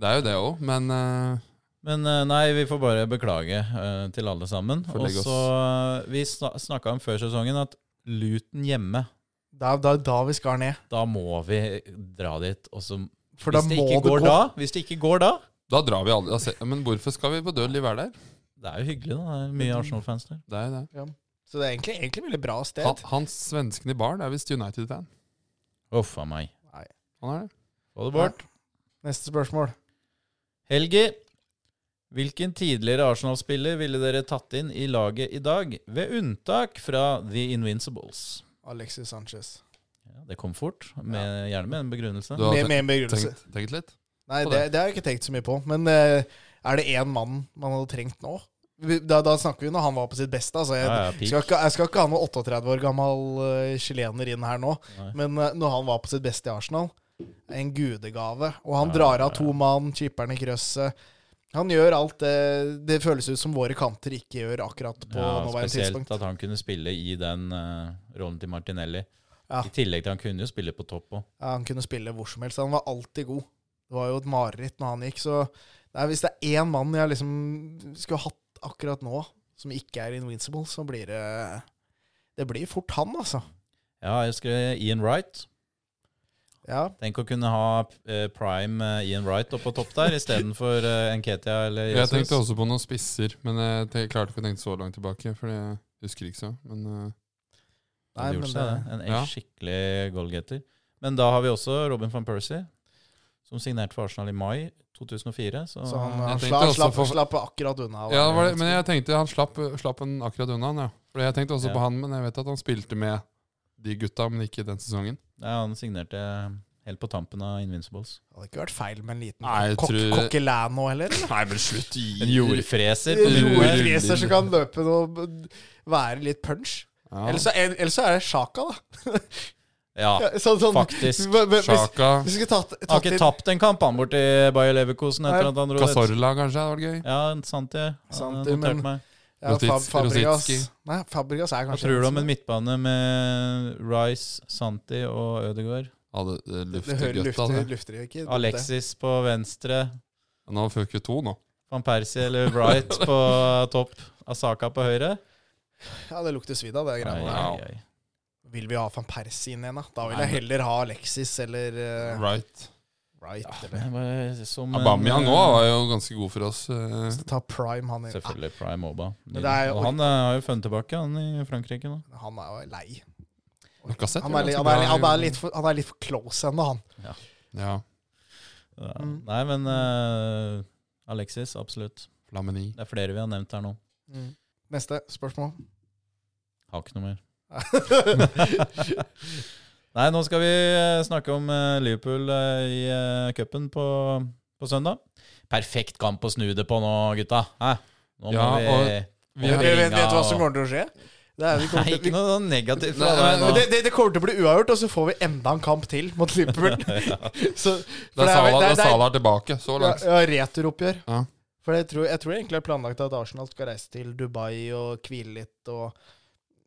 [SPEAKER 2] Det er jo det òg, men eh,
[SPEAKER 3] Men eh, nei, vi får bare beklage eh, til alle sammen.
[SPEAKER 2] Får
[SPEAKER 3] Og
[SPEAKER 2] legge oss.
[SPEAKER 3] så eh, Vi sna- snakka om før sesongen at Luton hjemme,
[SPEAKER 1] Det er da, da vi skal ned.
[SPEAKER 3] da må vi dra dit. Og så
[SPEAKER 1] For da
[SPEAKER 3] hvis det
[SPEAKER 1] må
[SPEAKER 3] ikke
[SPEAKER 1] det gå.
[SPEAKER 3] går da, hvis det ikke går da
[SPEAKER 2] da drar vi aldri. Da se- Men hvorfor skal vi på dødelig være der?
[SPEAKER 3] Det er jo hyggelig, da. Det er mye Arsenal-fans der.
[SPEAKER 2] Det er jo det.
[SPEAKER 1] Så det er egentlig, egentlig et veldig bra sted.
[SPEAKER 2] Han, han svensken i baren er visst United-fan.
[SPEAKER 3] Uff a meg.
[SPEAKER 2] Han er det.
[SPEAKER 3] Få det bort.
[SPEAKER 1] Neste spørsmål.
[SPEAKER 3] Helgi, hvilken tidligere Arsenal-spiller ville dere tatt inn i laget i dag, ved unntak fra The Invincibles?
[SPEAKER 1] Alexis Sanchez.
[SPEAKER 3] Ja, det kom fort, med, gjerne med en begrunnelse.
[SPEAKER 2] Du
[SPEAKER 1] Med,
[SPEAKER 2] har
[SPEAKER 1] med en
[SPEAKER 2] tenkt-
[SPEAKER 1] begrunnelse.
[SPEAKER 2] tenkt, tenkt litt?
[SPEAKER 1] Nei,
[SPEAKER 2] på
[SPEAKER 1] det, det har jeg ikke tenkt så mye på. Men eh, er det én mann man hadde trengt nå? Vi- Da, da snakker vi når han var på sitt beste. Altså, jeg,
[SPEAKER 3] Ja, ja, peak.
[SPEAKER 1] skal ikke, jeg skal ikke ha noen 38 år gammel eh, chilener inn her nå.
[SPEAKER 3] Nei.
[SPEAKER 1] Men eh, når han var på sitt beste i Arsenal, en gudegave. Og han drar av to mann, chipper'n i krøsset. Han gjør alt det Det føles ut som våre kanter ikke gjør akkurat på
[SPEAKER 3] Ja,
[SPEAKER 1] nåværende
[SPEAKER 3] spesielt
[SPEAKER 1] tidspunkt.
[SPEAKER 3] at han kunne spille i den eh, rollen til Martinelli.
[SPEAKER 1] Ja.
[SPEAKER 3] I tillegg til han kunne jo spille på topp òg.
[SPEAKER 1] Ja, han kunne spille hvor som helst. Han var alltid god. Det var jo et mareritt når han gikk, så nei, hvis det er én mann jeg liksom skulle hatt akkurat nå, som ikke er invincible, så blir det Det blir fort han, altså.
[SPEAKER 3] Ja, jeg skrev Ian Wright.
[SPEAKER 1] Ja,
[SPEAKER 3] Tenk å kunne ha eh, prime eh, Ian Wright oppe på topp der istedenfor uh, Enketia eller
[SPEAKER 2] Jeg
[SPEAKER 3] Jesus.
[SPEAKER 2] tenkte også på noen spisser, men jeg te- klarte ikke å tenke så langt tilbake. For jeg husker ikke så Men eh,
[SPEAKER 1] nei,
[SPEAKER 3] Hadde
[SPEAKER 1] men det,
[SPEAKER 3] gjort seg, det. En
[SPEAKER 2] Ja.
[SPEAKER 3] skikkelig goalgetter. Men da har vi også Robin van Persie, som signerte for Arsenal i mai 2004. Så,
[SPEAKER 1] så han
[SPEAKER 2] Jeg
[SPEAKER 1] han
[SPEAKER 2] tenkte
[SPEAKER 1] slapp,
[SPEAKER 2] også
[SPEAKER 1] slapp,
[SPEAKER 2] for-
[SPEAKER 1] slapp akkurat unna.
[SPEAKER 2] Ja, det var det, men jeg tenkte han slapp, slapp en akkurat unna han, ja. For jeg tenkte også
[SPEAKER 3] Ja.
[SPEAKER 2] på han, men jeg vet at han spilte med de gutta, men ikke den sesongen.
[SPEAKER 3] Nei, han signerte helt på tampen av Invincibles.
[SPEAKER 1] Det hadde ikke vært feil med en liten
[SPEAKER 2] Nei, jeg
[SPEAKER 1] kok
[SPEAKER 2] tror-
[SPEAKER 1] kokkelano heller.
[SPEAKER 2] Nei, men slutt!
[SPEAKER 3] En jordfreser. på
[SPEAKER 2] Rull-
[SPEAKER 1] Roe
[SPEAKER 3] midtbanen.
[SPEAKER 2] rull-
[SPEAKER 1] Freser som kan løpe og være litt punch.
[SPEAKER 2] Ja.
[SPEAKER 1] Ellers så, ellers så er det Sjaka, da.
[SPEAKER 3] Ja,
[SPEAKER 1] Sånn, sånn,
[SPEAKER 3] faktisk.
[SPEAKER 1] Hva- hva- Hvis,
[SPEAKER 2] Sjaka,
[SPEAKER 1] hvis vi skulle tatt,
[SPEAKER 3] Han har
[SPEAKER 1] tatt
[SPEAKER 3] ikke
[SPEAKER 1] inn
[SPEAKER 3] tapt en kamp, han, borti Bayer Leverkusen etter
[SPEAKER 1] Nei,
[SPEAKER 3] at han dro dit.
[SPEAKER 2] Casorla, kanskje? Det hadde vært gøy.
[SPEAKER 3] Ja, sant det. Han
[SPEAKER 1] Sant det,
[SPEAKER 3] noterte
[SPEAKER 1] men-
[SPEAKER 3] meg.
[SPEAKER 1] Ja, Fab
[SPEAKER 2] Rositz-
[SPEAKER 1] Fabregas
[SPEAKER 2] Rositski.
[SPEAKER 1] Nei, Fabregas er
[SPEAKER 3] Hva
[SPEAKER 1] kanskje
[SPEAKER 3] tror du om en midtbane med Rice, Santi og Ødegaard?
[SPEAKER 2] Ja, det, det
[SPEAKER 1] Det
[SPEAKER 2] lufter
[SPEAKER 1] hører
[SPEAKER 2] godt av
[SPEAKER 1] lufter,
[SPEAKER 2] det.
[SPEAKER 1] lufter jo ikke.
[SPEAKER 3] Alexis på venstre,
[SPEAKER 2] Han har føket to nå.
[SPEAKER 3] van Persie eller Wright på topp, Asaka på høyre.
[SPEAKER 1] Ja, det lukter svidd av det
[SPEAKER 3] Ai,
[SPEAKER 1] greiene der.
[SPEAKER 3] ai, ai.
[SPEAKER 1] Vil vi ha van Persie inn igjen, da? Da vil
[SPEAKER 2] Nei,
[SPEAKER 1] jeg heller ha Alexis eller eh,
[SPEAKER 2] Right.
[SPEAKER 1] Wright. eller.
[SPEAKER 3] Men bare Som en-
[SPEAKER 1] eh,
[SPEAKER 2] Aubameyang òg var jo ganske god for oss. eh.
[SPEAKER 1] Så ta Prime, han inn.
[SPEAKER 3] Selvfølgelig Prime Oba.
[SPEAKER 1] Men det er jo-
[SPEAKER 3] Og han eh, har jo funnet tilbake, han i Frankrike nå.
[SPEAKER 1] Ah, Han er jo lei.
[SPEAKER 2] Lacazette
[SPEAKER 1] Han
[SPEAKER 2] var
[SPEAKER 1] er, li- han
[SPEAKER 2] ganske
[SPEAKER 1] er,
[SPEAKER 2] bra
[SPEAKER 1] li-
[SPEAKER 2] i-
[SPEAKER 1] han er, litt, for, han er litt for close ennå, han.
[SPEAKER 2] Ja,
[SPEAKER 3] Ja.
[SPEAKER 1] Mm.
[SPEAKER 3] Nei, men eh, Alexis, absolutt.
[SPEAKER 2] Flamini.
[SPEAKER 3] Det er flere vi har nevnt her nå.
[SPEAKER 1] Neste spørsmål.
[SPEAKER 3] Har ikke noe mer. Nei, nå skal vi eh, snakke om eh, Liverpool eh, i eh, cupen på, på søndag. Perfekt kamp å snu det på nå, gutta. Hæ? Nå må
[SPEAKER 2] Ja,
[SPEAKER 3] vi,
[SPEAKER 2] og vi
[SPEAKER 1] vet,
[SPEAKER 2] har-
[SPEAKER 1] vet, vet du hva
[SPEAKER 3] og-
[SPEAKER 1] som kommer til å skje? Det, er, vi
[SPEAKER 3] Nei,
[SPEAKER 1] kommer til,
[SPEAKER 3] ikke
[SPEAKER 1] vi,
[SPEAKER 3] noe sånn negativt
[SPEAKER 2] Nei,
[SPEAKER 3] fra
[SPEAKER 2] nei,
[SPEAKER 3] deg nå.
[SPEAKER 1] det, det, det kommer til å bli uavgjort, og så får vi enda en kamp til mot Liverpool. Så, for
[SPEAKER 2] Da
[SPEAKER 1] det
[SPEAKER 2] er
[SPEAKER 1] er vel- det er-
[SPEAKER 2] Salah, da er
[SPEAKER 1] det er-
[SPEAKER 2] Salah tilbake. Så
[SPEAKER 1] Ja,
[SPEAKER 2] langt.
[SPEAKER 1] ja returoppgjør.
[SPEAKER 2] Ja.
[SPEAKER 1] For jeg tror, jeg tror egentlig det er planlagt at Arsenal skal reise til Dubai og hvile litt og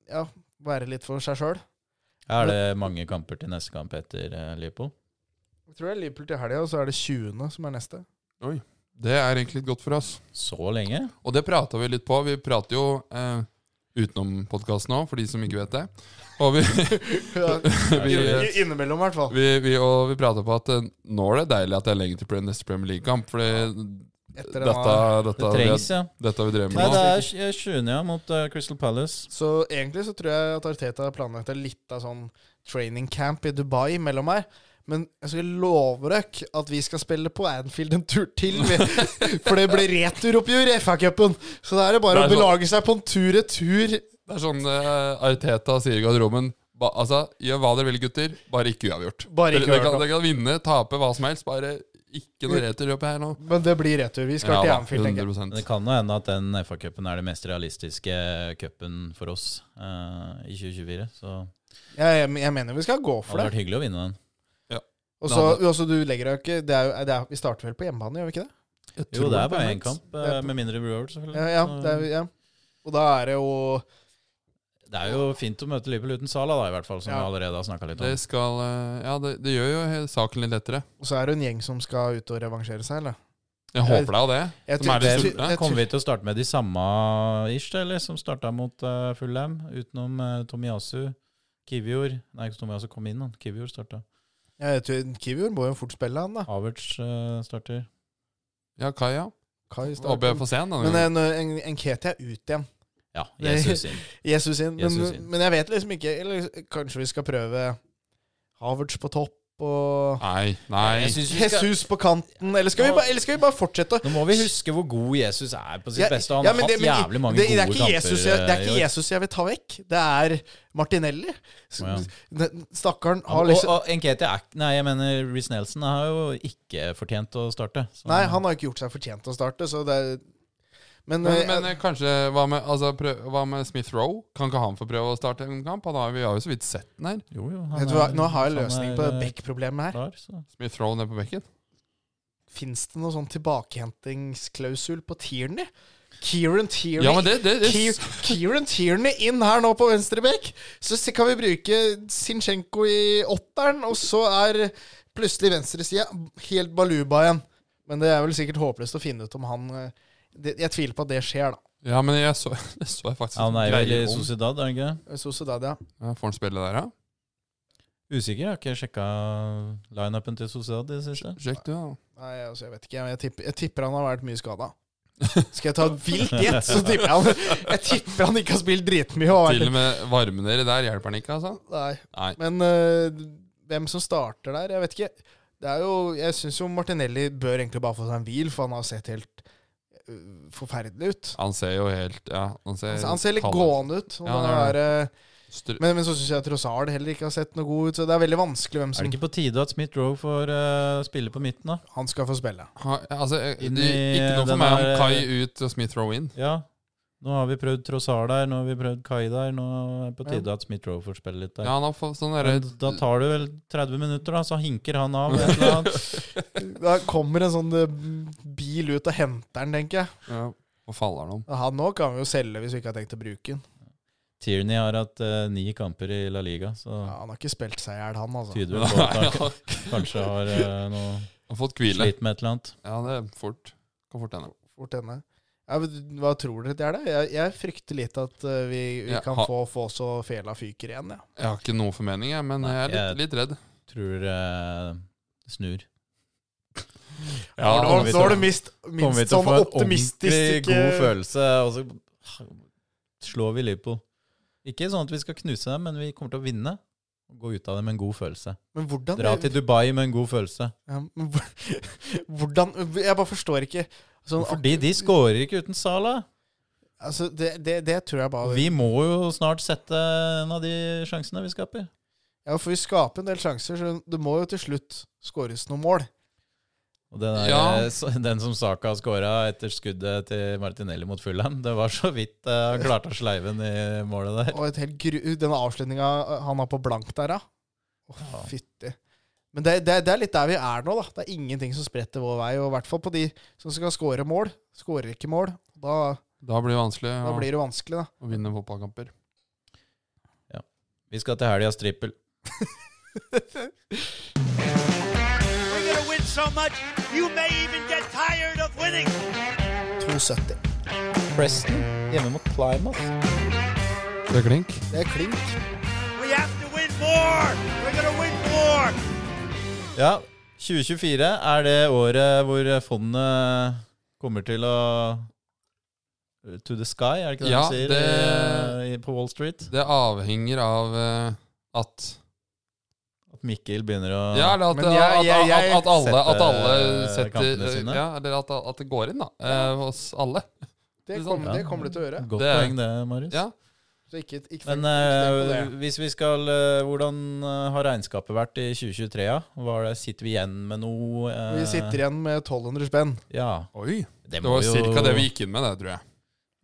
[SPEAKER 1] ja, være litt for seg sjøl.
[SPEAKER 3] Er det mange kamper til neste kamp etter eh, Liverpool?
[SPEAKER 1] Jeg tror det er Liverpool til helga, og så er det 20. som er neste.
[SPEAKER 2] Det er egentlig litt godt for oss.
[SPEAKER 3] Så lenge?
[SPEAKER 2] Og det prata vi litt på. Vi prater jo eh, utenom podkasten òg, for de som ikke vet det. Og vi,
[SPEAKER 1] Ja,
[SPEAKER 2] vi,
[SPEAKER 1] i- Innimellom, i hvert fall.
[SPEAKER 2] vi, vi, og vi prata på at eh, nå er det deilig at det er lenge til pre- neste Premier League-kamp. For
[SPEAKER 1] Etter den
[SPEAKER 2] dette,
[SPEAKER 1] har-
[SPEAKER 2] dette,
[SPEAKER 3] Det trengs,
[SPEAKER 2] vi-
[SPEAKER 3] ja.
[SPEAKER 2] dette vi drev
[SPEAKER 3] Nei,
[SPEAKER 2] med
[SPEAKER 3] det
[SPEAKER 2] nå.
[SPEAKER 3] er tj- 20. ja, mot eh, Crystal Palace.
[SPEAKER 1] Så egentlig så tror jeg at Arteta har planlagt en litt av sånn training camp i Dubai mellom her. Men jeg skal love dere at vi skal spille på Anfield en tur til. vi. For det blir returoppgjør i FA-cupen! Så da er det bare
[SPEAKER 2] Det er
[SPEAKER 1] å
[SPEAKER 2] sånn-
[SPEAKER 1] belage seg på en tur-retur
[SPEAKER 2] Det er sånn eh, Arteta sier i garderoben ba, Altså, gjør hva dere vil, gutter. Bare ikke uavgjort.
[SPEAKER 1] Bare ikke
[SPEAKER 2] dere, dere,
[SPEAKER 1] uavgjort.
[SPEAKER 2] kan, dere kan vinne, tape, hva som helst. Bare ikke noe returløp her nå.
[SPEAKER 1] Men det blir retur. Vi skal til
[SPEAKER 2] da,
[SPEAKER 1] Anfield, tenker jeg.
[SPEAKER 2] 100%.
[SPEAKER 3] Men det kan jo hende at den FA-cupen er den mest realistiske cupen for oss eh, i 2024. Så det
[SPEAKER 1] Jeg, jeg, jeg mener vi skal gå for
[SPEAKER 3] hadde
[SPEAKER 1] det.
[SPEAKER 3] vært hyggelig å vinne den.
[SPEAKER 1] Og så også du legger deg jo ikke det er, jo- det er, Vi starter vel på hjemmebane, gjør vi ikke det?
[SPEAKER 2] Jeg
[SPEAKER 3] Jo,
[SPEAKER 2] tror
[SPEAKER 3] det er bare
[SPEAKER 2] er
[SPEAKER 3] én kamp,
[SPEAKER 1] Det er
[SPEAKER 3] eh, med mindre Brewer, selvfølgelig.
[SPEAKER 1] Ja, ja,
[SPEAKER 3] Så-
[SPEAKER 1] det er, ja. Og da er det jo
[SPEAKER 3] Det er jo fint å møte Liverpool uten Sala, da, i hvert fall, som
[SPEAKER 1] Ja.
[SPEAKER 3] vi allerede har snakka litt
[SPEAKER 2] Det
[SPEAKER 3] om.
[SPEAKER 2] skal eh, Ja, det, det gjør jo he- saken litt lettere.
[SPEAKER 1] Og så er det en gjeng som skal ut og revansjere seg, eller?
[SPEAKER 2] Jeg håper da det.
[SPEAKER 1] Jeg
[SPEAKER 2] Som er
[SPEAKER 1] tror-
[SPEAKER 2] det
[SPEAKER 1] jeg-
[SPEAKER 2] sultne.
[SPEAKER 1] jeg tror-
[SPEAKER 3] Kommer vi til å starte med de samme ish, eller, som starta mot uh, Fullham, utenom eh, Tomiyasu, Kivior Nei, ikke Tomiyasu kom inn, han. Kivior starta.
[SPEAKER 1] Jeg tror Kivior må jo fort spille, han da.
[SPEAKER 3] Havertz eh, starter.
[SPEAKER 2] Ja, Kaja.
[SPEAKER 1] Kai
[SPEAKER 2] Håper jeg
[SPEAKER 1] starter.
[SPEAKER 2] får se den denne
[SPEAKER 1] Men eh,
[SPEAKER 2] gangen.
[SPEAKER 1] en, en, en Ketia er ute igjen.
[SPEAKER 3] Ja,
[SPEAKER 1] Nei.
[SPEAKER 3] Jesus inn.
[SPEAKER 1] Jesus inn. Men,
[SPEAKER 3] Jesus inn.
[SPEAKER 1] men jeg vet liksom ikke Eller kanskje vi skal prøve Havertz på topp og
[SPEAKER 2] Nei, nei.
[SPEAKER 3] Jeg synes vi skal-
[SPEAKER 1] Jesus på kanten, eller skal, vi bare, eller skal vi bare fortsette å
[SPEAKER 3] Nå må vi huske hvor god Jesus er på sitt
[SPEAKER 1] Ja,
[SPEAKER 3] beste. Han
[SPEAKER 1] ja,
[SPEAKER 3] har
[SPEAKER 1] men
[SPEAKER 3] hatt
[SPEAKER 1] det- men
[SPEAKER 3] jævlig mange
[SPEAKER 1] det,
[SPEAKER 3] gode
[SPEAKER 1] det er ikke
[SPEAKER 3] kamper.
[SPEAKER 1] Jesus jeg, det er
[SPEAKER 3] eh, i
[SPEAKER 1] ikke
[SPEAKER 3] år.
[SPEAKER 1] Jesus jeg vil ta vekk. Det er Martinelli. S-
[SPEAKER 3] Å, ja.
[SPEAKER 1] den Stakkaren
[SPEAKER 3] Og,
[SPEAKER 1] har liksom
[SPEAKER 3] og Nketiah er ikke- Nei, jeg mener Reece Nelson har jo ikke fortjent å starte. så-
[SPEAKER 1] Nei, han har ikke gjort seg fortjent til å starte, så det er Men,
[SPEAKER 2] Men,
[SPEAKER 1] eh,
[SPEAKER 2] men eh, kanskje Hva med, altså, prøv, hva med Smith Rowe? Kan ikke han få prøve å starte en kamp? Han har, vi har jo så vidt sett den her.
[SPEAKER 3] Jo, jo, han
[SPEAKER 1] vet du hva,
[SPEAKER 3] er-
[SPEAKER 1] nå har jeg
[SPEAKER 3] han
[SPEAKER 1] løsning
[SPEAKER 3] er,
[SPEAKER 1] på
[SPEAKER 3] eh,
[SPEAKER 1] Beck-problemet her.
[SPEAKER 3] klar, så.
[SPEAKER 2] Smith Rowe nede på bekken.
[SPEAKER 1] Fins det noen sånn tilbakehentingsklausul på Tierney? Kieran Tierney
[SPEAKER 2] Ja, men det, det, det
[SPEAKER 1] Kier- Kieran Tierney inn her nå på venstre bekk. Så se- kan vi bruke Sinchenko i åtteren, og så er plutselig venstresida helt baluba igjen. Men det er vel sikkert håpløst å finne ut om han eh, det, Jeg tviler på at det skjer, da.
[SPEAKER 2] Ja, men jeg så, det så jeg faktisk
[SPEAKER 3] Han er jo
[SPEAKER 2] greier
[SPEAKER 3] i
[SPEAKER 2] om.
[SPEAKER 3] Sociedad, er han ikke?
[SPEAKER 1] Sociedad, ja.
[SPEAKER 2] Ja, Får han spille der, ja?
[SPEAKER 3] Usikker, jeg har ikke sjekka lineupen til Sociedad i det siste.
[SPEAKER 2] Sjekk du, da.
[SPEAKER 1] Nei, altså, jeg vet ikke. men Jeg tipper, jeg tipper han har vært mye skada. Skal jeg ta et vilt gjett, så tipper jeg han Jeg tipper han ikke har spilt dritmye. og har
[SPEAKER 2] Til
[SPEAKER 1] vært-
[SPEAKER 2] og med varmen dere der hjelper han ikke, altså.
[SPEAKER 1] Nei.
[SPEAKER 2] Nei.
[SPEAKER 1] Men øh, hvem som starter der, jeg vet ikke. Det er jo, jeg syns jo Martinelli bør egentlig bare få seg en hvil, for han har sett helt øh, forferdelig ut.
[SPEAKER 2] Han ser jo helt Ja, han ser,
[SPEAKER 1] Altså, han ser litt
[SPEAKER 2] halv-
[SPEAKER 1] gående ut. og
[SPEAKER 2] Ja,
[SPEAKER 1] det
[SPEAKER 2] han gjør
[SPEAKER 1] er, øh,
[SPEAKER 2] str-
[SPEAKER 1] men, men så syns jeg Trossard heller ikke har sett noe god ut. Så det er veldig vanskelig hvem
[SPEAKER 3] Er det
[SPEAKER 1] som
[SPEAKER 3] ikke på tide at Smith Rowe får eh, spille på midten, da?
[SPEAKER 1] han skal få spille.
[SPEAKER 2] Ha, altså, jeg-
[SPEAKER 3] Inn
[SPEAKER 2] det,
[SPEAKER 3] i eh,
[SPEAKER 2] ikke noe for
[SPEAKER 3] den
[SPEAKER 2] meg om
[SPEAKER 3] der-
[SPEAKER 2] Kai ut og Smith Rowe inn.
[SPEAKER 3] Ja. Nå har vi prøvd Trossard der, nå har vi prøvd Kai der. Nå er det på tide at Smith Rowe får spille litt der.
[SPEAKER 2] Ja, han har fått sånn derre
[SPEAKER 3] Men Da tar det vel 30 minutter, da, så hinker han av et eller annet.
[SPEAKER 1] Da kommer en sånn øh, bil ut og henter den, tenker jeg.
[SPEAKER 2] ja, Hva faller han om?
[SPEAKER 1] Og Han nå kan vi jo selge hvis vi ikke har tenkt å bruke den.
[SPEAKER 3] Tierney har hatt eh, ni kamper i La Liga, så
[SPEAKER 1] Ja, han har ikke spilt seg i hjel, han, altså.
[SPEAKER 3] tyder vel på at
[SPEAKER 2] Nei,
[SPEAKER 3] han
[SPEAKER 2] Han
[SPEAKER 3] kanskje har eh, noe
[SPEAKER 2] har fått hvile.
[SPEAKER 3] slitt med et eller annet.
[SPEAKER 2] Ja, det er fort. Kan fort hende.
[SPEAKER 1] Fort henne. Ja, men hva tror dere det er det? Jeg, jeg frykter litt at øh, vi, vi
[SPEAKER 2] Ja,
[SPEAKER 1] kan
[SPEAKER 2] ha-
[SPEAKER 1] få, få så fela fyker igjen, ja.
[SPEAKER 2] Jeg har ikke noe formening, jeg, men
[SPEAKER 3] Nei,
[SPEAKER 2] jeg er litt,
[SPEAKER 3] jeg-
[SPEAKER 2] litt redd.
[SPEAKER 3] Tror eh, det snur.
[SPEAKER 1] Nå
[SPEAKER 2] Ja,
[SPEAKER 1] har
[SPEAKER 3] kommer
[SPEAKER 1] du-
[SPEAKER 3] vi
[SPEAKER 1] nå har
[SPEAKER 3] til-
[SPEAKER 1] du mist,
[SPEAKER 3] Kommer vi
[SPEAKER 1] minst
[SPEAKER 3] til å
[SPEAKER 1] sånn
[SPEAKER 3] få en ordentlig
[SPEAKER 1] optimistisk
[SPEAKER 3] god
[SPEAKER 1] eh,
[SPEAKER 3] følelse, og så slår vi Liverpool. Ikke sånn at vi skal knuse dem, men vi kommer til å vinne. og Gå ut av det med en god følelse.
[SPEAKER 1] Men hvordan,
[SPEAKER 3] Dra til Dubai med en god følelse.
[SPEAKER 1] Ja, men hvor- hvordan Jeg bare forstår ikke. Sånn,
[SPEAKER 3] Fordi de skårer ikke uten Sala.
[SPEAKER 1] altså, det, det, det tror jeg bare
[SPEAKER 3] Vi må jo snart sette en av de sjansene vi skaper.
[SPEAKER 1] Ja, For vi skaper en del sjanser, så det må jo til slutt skåres noen mål.
[SPEAKER 3] Og den, der,
[SPEAKER 2] Ja.
[SPEAKER 3] eh, så- den som Saka skåra etter skuddet til Martinelli mot Fulham, det var så vidt eh, han klarte å sleive den i målet der.
[SPEAKER 1] Og et helt gru, den avslutninga han har på blank der, da. Å,
[SPEAKER 3] Ja.
[SPEAKER 1] fytti. Men det, det, det er litt der vi er nå, da. Det er ingenting som spretter vår vei. Og i hvert fall på de som skal skåre mål. Skårer ikke mål. Da,
[SPEAKER 2] Da blir det vanskelig
[SPEAKER 1] da
[SPEAKER 2] å-
[SPEAKER 1] blir det vanskelig, da.
[SPEAKER 2] å vinne fotballkamper.
[SPEAKER 3] Vi skal til helgas trippel.
[SPEAKER 4] We're going to win so much, you may even get tired of winning.
[SPEAKER 1] 2,70.
[SPEAKER 3] Preston hjemme mot Plymouth.
[SPEAKER 2] Det er klink.
[SPEAKER 1] Det er klink.
[SPEAKER 4] We have to win more. We're going to win more.
[SPEAKER 3] Ja, 2024 er det året hvor fondet kommer til å To the sky, er det ikke det
[SPEAKER 2] Ja,
[SPEAKER 3] de sier eh,
[SPEAKER 2] det-
[SPEAKER 3] i- i- på Wall Street?
[SPEAKER 2] Det avhenger av eh, at
[SPEAKER 3] At Mikkel begynner å
[SPEAKER 2] Ja, eller at,
[SPEAKER 1] Men jeg- jeg-
[SPEAKER 2] at,
[SPEAKER 1] jeg
[SPEAKER 2] at, at alle,
[SPEAKER 3] setter eh,
[SPEAKER 2] at alle
[SPEAKER 3] kampene
[SPEAKER 2] setter
[SPEAKER 3] sine.
[SPEAKER 2] Ja, eller at, at det går inn, da. eh, hos alle.
[SPEAKER 1] Det
[SPEAKER 2] Det er sant.
[SPEAKER 1] kommer det, kommer det til å gjøre.
[SPEAKER 3] Godt
[SPEAKER 2] Det er-
[SPEAKER 3] poeng det, Marius.
[SPEAKER 2] Ja.
[SPEAKER 1] Så ikke, ikke
[SPEAKER 3] Men
[SPEAKER 1] tenk-
[SPEAKER 3] eh,
[SPEAKER 1] tenk på det.
[SPEAKER 3] hvis vi skal eh, Hvordan eh, har regnskapet vært i 2023? Ja? Var det, sitter vi igjen med noe eh,
[SPEAKER 1] Vi sitter igjen med 1200 spenn.
[SPEAKER 3] Ja.
[SPEAKER 2] Oi.
[SPEAKER 3] Det,
[SPEAKER 2] Det var cirka det vi gikk inn med, det, tror jeg.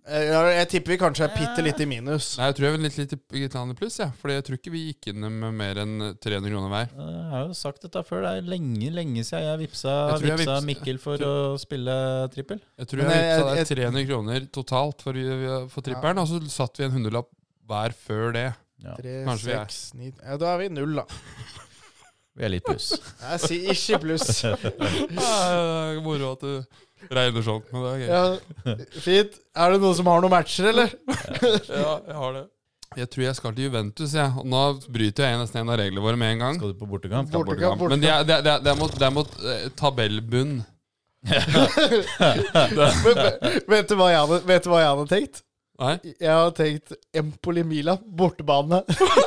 [SPEAKER 1] Eh, ja, Jeg tipper vi kanskje er bitte litt i minus.
[SPEAKER 2] Nei, jeg tror jeg var litt, litt, litt annet pluss, jeg. Fordi jeg tror ikke vi gikk inn med mer enn 300 kroner hver.
[SPEAKER 3] Eh, Jeg har jo sagt dette før. Det er lenge, lenge siden jeg vipsa,
[SPEAKER 2] Jeg tror jeg
[SPEAKER 3] vipsa
[SPEAKER 2] vips-
[SPEAKER 3] Mikkel for å spille trippel.
[SPEAKER 2] Jeg tror
[SPEAKER 1] Men
[SPEAKER 2] jeg,
[SPEAKER 1] jeg-
[SPEAKER 2] jeg,
[SPEAKER 1] jeg-
[SPEAKER 2] 300 kroner totalt for, vi- vi- for tripperen, og så satt vi en hundrelapp hver før det.
[SPEAKER 3] Ja,
[SPEAKER 1] Tre,
[SPEAKER 2] Kanskje vi er.
[SPEAKER 1] seks, ni ja, Da er vi i null, da.
[SPEAKER 3] vi er litt pluss.
[SPEAKER 1] Jeg sier ikke pluss.
[SPEAKER 2] Ja, det er Moro at du regner sånn, men det er gøy.
[SPEAKER 1] Ja, fint. Er det noen som har noen matcher, eller?
[SPEAKER 2] Ja, jeg har det. Jeg tror jeg skal til Juventus, jeg. Og nå bryter jeg nesten en av reglene våre med en gang.
[SPEAKER 3] Skal du på bortekamp?
[SPEAKER 1] Bort- Bortekamp,
[SPEAKER 2] Men det er, det er, det er- det er mot, det er mot eh, tabellbunn.
[SPEAKER 1] Men, men, vet, du hva jeg hadde, vet du hva jeg hadde tenkt?
[SPEAKER 2] Nei?
[SPEAKER 1] Jeg hadde tenkt Empoli Milan, bortebane.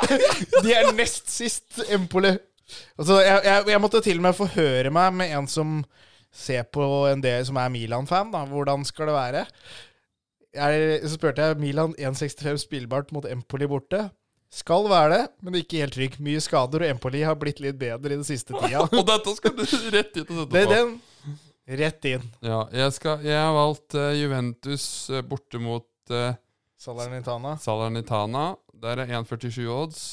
[SPEAKER 1] De er nest sist Empoli. Altså, jeg, jeg, jeg måtte til og med forhøre meg med en som ser på en del som er Milan-fan. da. Hvordan skal det være? Jeg, så spurte jeg Milan 1,65 spillbart mot Empoli borte. Skal være det, men ikke helt trygg. Mye skader, og Empoli har blitt litt bedre i den siste tida.
[SPEAKER 2] Og dette skal du rett hit og sette på.
[SPEAKER 1] Det er den. Rett inn.
[SPEAKER 2] Ja, jeg, skal, jeg har valgt eh, Juventus eh, borte mot eh,
[SPEAKER 1] Salernitana.
[SPEAKER 2] Salernitana. Der er 1,47 odds.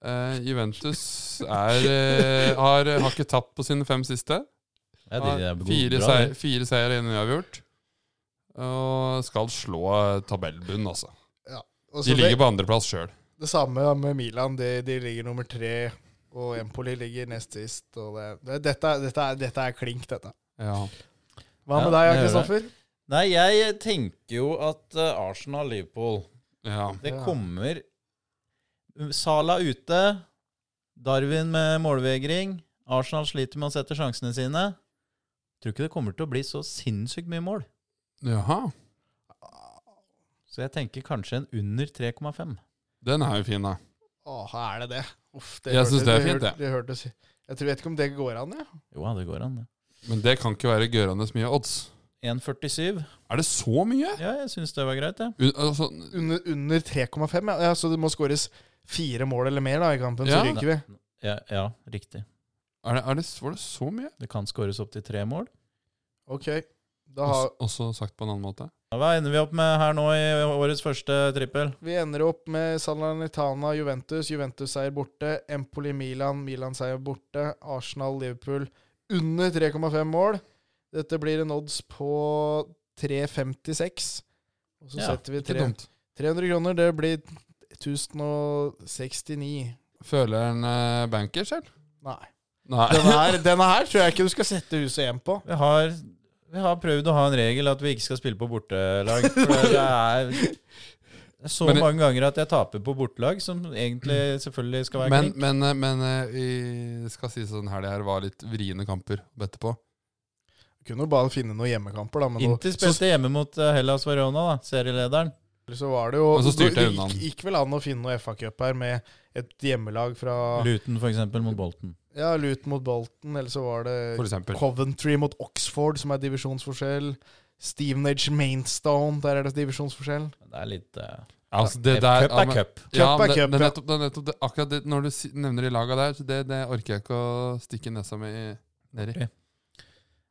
[SPEAKER 2] Eh, Juventus er, eh, har, har ikke tapt på sine fem siste.
[SPEAKER 3] Ja, de,
[SPEAKER 2] Har
[SPEAKER 3] er gode,
[SPEAKER 2] fire,
[SPEAKER 3] bra,
[SPEAKER 2] seier,
[SPEAKER 3] det.
[SPEAKER 2] fire seier innen uavgjort. Og skal slå eh, tabellbunnen, altså.
[SPEAKER 1] Og så
[SPEAKER 2] De
[SPEAKER 1] det,
[SPEAKER 2] ligger på andreplass sjøl.
[SPEAKER 1] det samme med Milan. De, de ligger nummer tre, og Empoli ligger nest sist. Og det, det, dette, er- dette, er, dette er klink, dette.
[SPEAKER 2] Ja.
[SPEAKER 1] Hva med
[SPEAKER 3] Ja,
[SPEAKER 1] deg,
[SPEAKER 3] jeg hører
[SPEAKER 1] Kristoffer?
[SPEAKER 3] Nei, jeg tenker jo at eh, Arsenal-Liverpool
[SPEAKER 2] ja.
[SPEAKER 3] Det
[SPEAKER 1] Ja.
[SPEAKER 3] kommer Sala ute. Darwin med målvegring. Arsenal sliter med å sette sjansene sine. Tror ikke det kommer til å bli så sinnssykt mye mål.
[SPEAKER 2] Jaha.
[SPEAKER 3] Så jeg tenker kanskje en under 3,5.
[SPEAKER 2] Den er jo fin, da.
[SPEAKER 1] Å, her er det det. Uff,
[SPEAKER 2] Jeg
[SPEAKER 1] hørtes-
[SPEAKER 2] synes det er fint,
[SPEAKER 1] hør-
[SPEAKER 2] det.
[SPEAKER 1] det hørtes, jeg tror, vet ikke om det går an, jeg.
[SPEAKER 3] Jo, ja, det går an. det.
[SPEAKER 2] Men det kan ikke være gørende mye odds.
[SPEAKER 3] 1,47.
[SPEAKER 2] Er det så mye?
[SPEAKER 3] Ja, jeg syns det var greit, jeg.
[SPEAKER 2] U- Altså,
[SPEAKER 1] Under, under 3,5, ja. ja. Så det må skåres fire mål eller mer da i kampen,
[SPEAKER 2] Ja.
[SPEAKER 1] så ryker vi.
[SPEAKER 3] Ja, ja, riktig.
[SPEAKER 2] er det, er det, var det så mye?
[SPEAKER 3] Det kan skåres opp til tre mål.
[SPEAKER 1] Ok. Da har,
[SPEAKER 2] Også, også sagt på en annen måte.
[SPEAKER 3] Ja, Hva ender vi opp med her nå i årets første trippel?
[SPEAKER 1] vi ender opp med Salernitana, Juventus. Juventus-seier borte. Empoli, Milan. Milan-seier borte. Arsenal, Liverpool under 3,5 mål. Dette blir en odds på 3,56. Og så
[SPEAKER 3] Ja,
[SPEAKER 1] setter vi
[SPEAKER 2] Ikke
[SPEAKER 1] tre-
[SPEAKER 2] dumt.
[SPEAKER 1] 300 kroner. Det blir 1069.
[SPEAKER 2] Føler en eh, banker selv?
[SPEAKER 1] Nei.
[SPEAKER 2] Nei.
[SPEAKER 1] Denne her, denne her tror jeg ikke du skal sette huset hjem på.
[SPEAKER 3] Vi har, vi har prøvd å ha en regel at vi ikke skal spille på bortelag. For det er, det er så
[SPEAKER 2] Men det-
[SPEAKER 3] mange ganger at jeg taper på bortelag, som egentlig selvfølgelig skal være
[SPEAKER 2] Men,
[SPEAKER 3] klink.
[SPEAKER 2] men, eh, men eh, i- skal si sånn her, det her var litt vriene kamper å bette på.
[SPEAKER 1] Kunne jo bare finne noen hjemmekamper, da. Men nå,
[SPEAKER 3] Inter spilte hjemme mot eh, Hellas Verona, da, serielederen.
[SPEAKER 1] så var det jo
[SPEAKER 2] Og så styrte
[SPEAKER 1] Det
[SPEAKER 2] jeg unna
[SPEAKER 1] gikk,
[SPEAKER 2] den.
[SPEAKER 1] gikk vel an å finne noe FA-cup her med et hjemmelag fra
[SPEAKER 3] Luton, for eksempel, mot Bolton.
[SPEAKER 1] Ja, Luton mot Bolton, eller så var
[SPEAKER 2] For
[SPEAKER 1] det
[SPEAKER 2] eksempel.
[SPEAKER 1] Coventry mot Oxford, som er divisjonsforskjell. Stevenage Mainstone, der er det divisjonsforskjell.
[SPEAKER 3] Det er litt eh,
[SPEAKER 2] Ja, altså, det der,
[SPEAKER 3] Cup
[SPEAKER 2] ja,
[SPEAKER 3] er
[SPEAKER 2] men-
[SPEAKER 3] cup.
[SPEAKER 2] Ja,
[SPEAKER 1] Cup er
[SPEAKER 2] men det,
[SPEAKER 1] cup,
[SPEAKER 2] det, er
[SPEAKER 1] ja.
[SPEAKER 2] nettopp, det, er nettopp det, akkurat det, når du si- nevner de laga der, så det, det orker jeg ikke å stikke nesa mi ned i.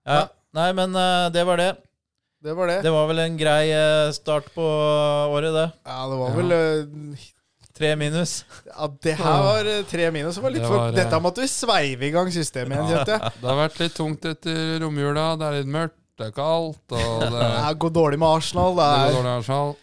[SPEAKER 3] Ja. Nei, men eh, det var det.
[SPEAKER 1] Det var det.
[SPEAKER 3] Det var vel en grei eh, start på eh, året, det.
[SPEAKER 1] Ja, det var
[SPEAKER 2] Ja.
[SPEAKER 1] vel eh,
[SPEAKER 3] Tre minus.
[SPEAKER 1] Ja, det her var eh, tre minus. Det var litt
[SPEAKER 2] Det
[SPEAKER 1] for,
[SPEAKER 2] var, eh,
[SPEAKER 1] Dette måtte vi sveive i gang systemet igjen,
[SPEAKER 2] Ja.
[SPEAKER 1] kjente jeg.
[SPEAKER 2] Det har vært litt tungt etter romjula. Det er litt mørkt, det er kaldt, og det,
[SPEAKER 1] Det her går dårlig med Arsenal.
[SPEAKER 2] det
[SPEAKER 1] Det
[SPEAKER 2] går
[SPEAKER 1] er.
[SPEAKER 2] dårlig Arsenal.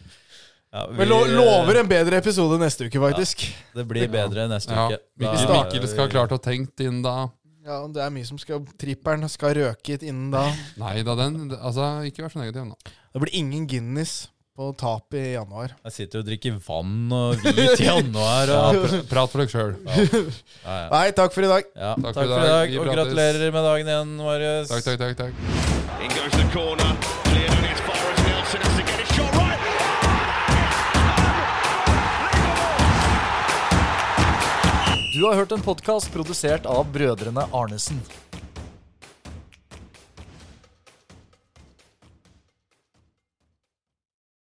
[SPEAKER 3] Ja, vi- eh,
[SPEAKER 1] Men lo lover en bedre episode neste uke, faktisk.
[SPEAKER 3] Det blir bedre neste
[SPEAKER 2] Ja,
[SPEAKER 3] uke. Da-
[SPEAKER 2] Mikkel, Mikkel skal ha klart å tenkt inn da.
[SPEAKER 1] Ja, Det er mye som skal Tripperen skal røke hit innen da.
[SPEAKER 2] Nei da, den Altså, ikke vær så negativ nå.
[SPEAKER 1] Det blir ingen Guinness på tap i januar.
[SPEAKER 3] Jeg sitter og drikker vann og hvit i januar.
[SPEAKER 2] Ja,
[SPEAKER 3] Og,
[SPEAKER 2] pr prat for deg sjøl.
[SPEAKER 3] ja, ja.
[SPEAKER 1] Nei, takk for i dag.
[SPEAKER 3] Ja,
[SPEAKER 2] Takk
[SPEAKER 3] takk,
[SPEAKER 2] for i
[SPEAKER 3] for i
[SPEAKER 2] dag.
[SPEAKER 3] dag,
[SPEAKER 2] Vi
[SPEAKER 3] og
[SPEAKER 2] prates.
[SPEAKER 3] gratulerer med dagen igjen, Marius.
[SPEAKER 2] Takk, takk, takk. takk.
[SPEAKER 4] In goes the corner. Cleared on his far as Nelson has to get a shot right.
[SPEAKER 5] Du har hørt en podkast produsert av brødrene Arnesen.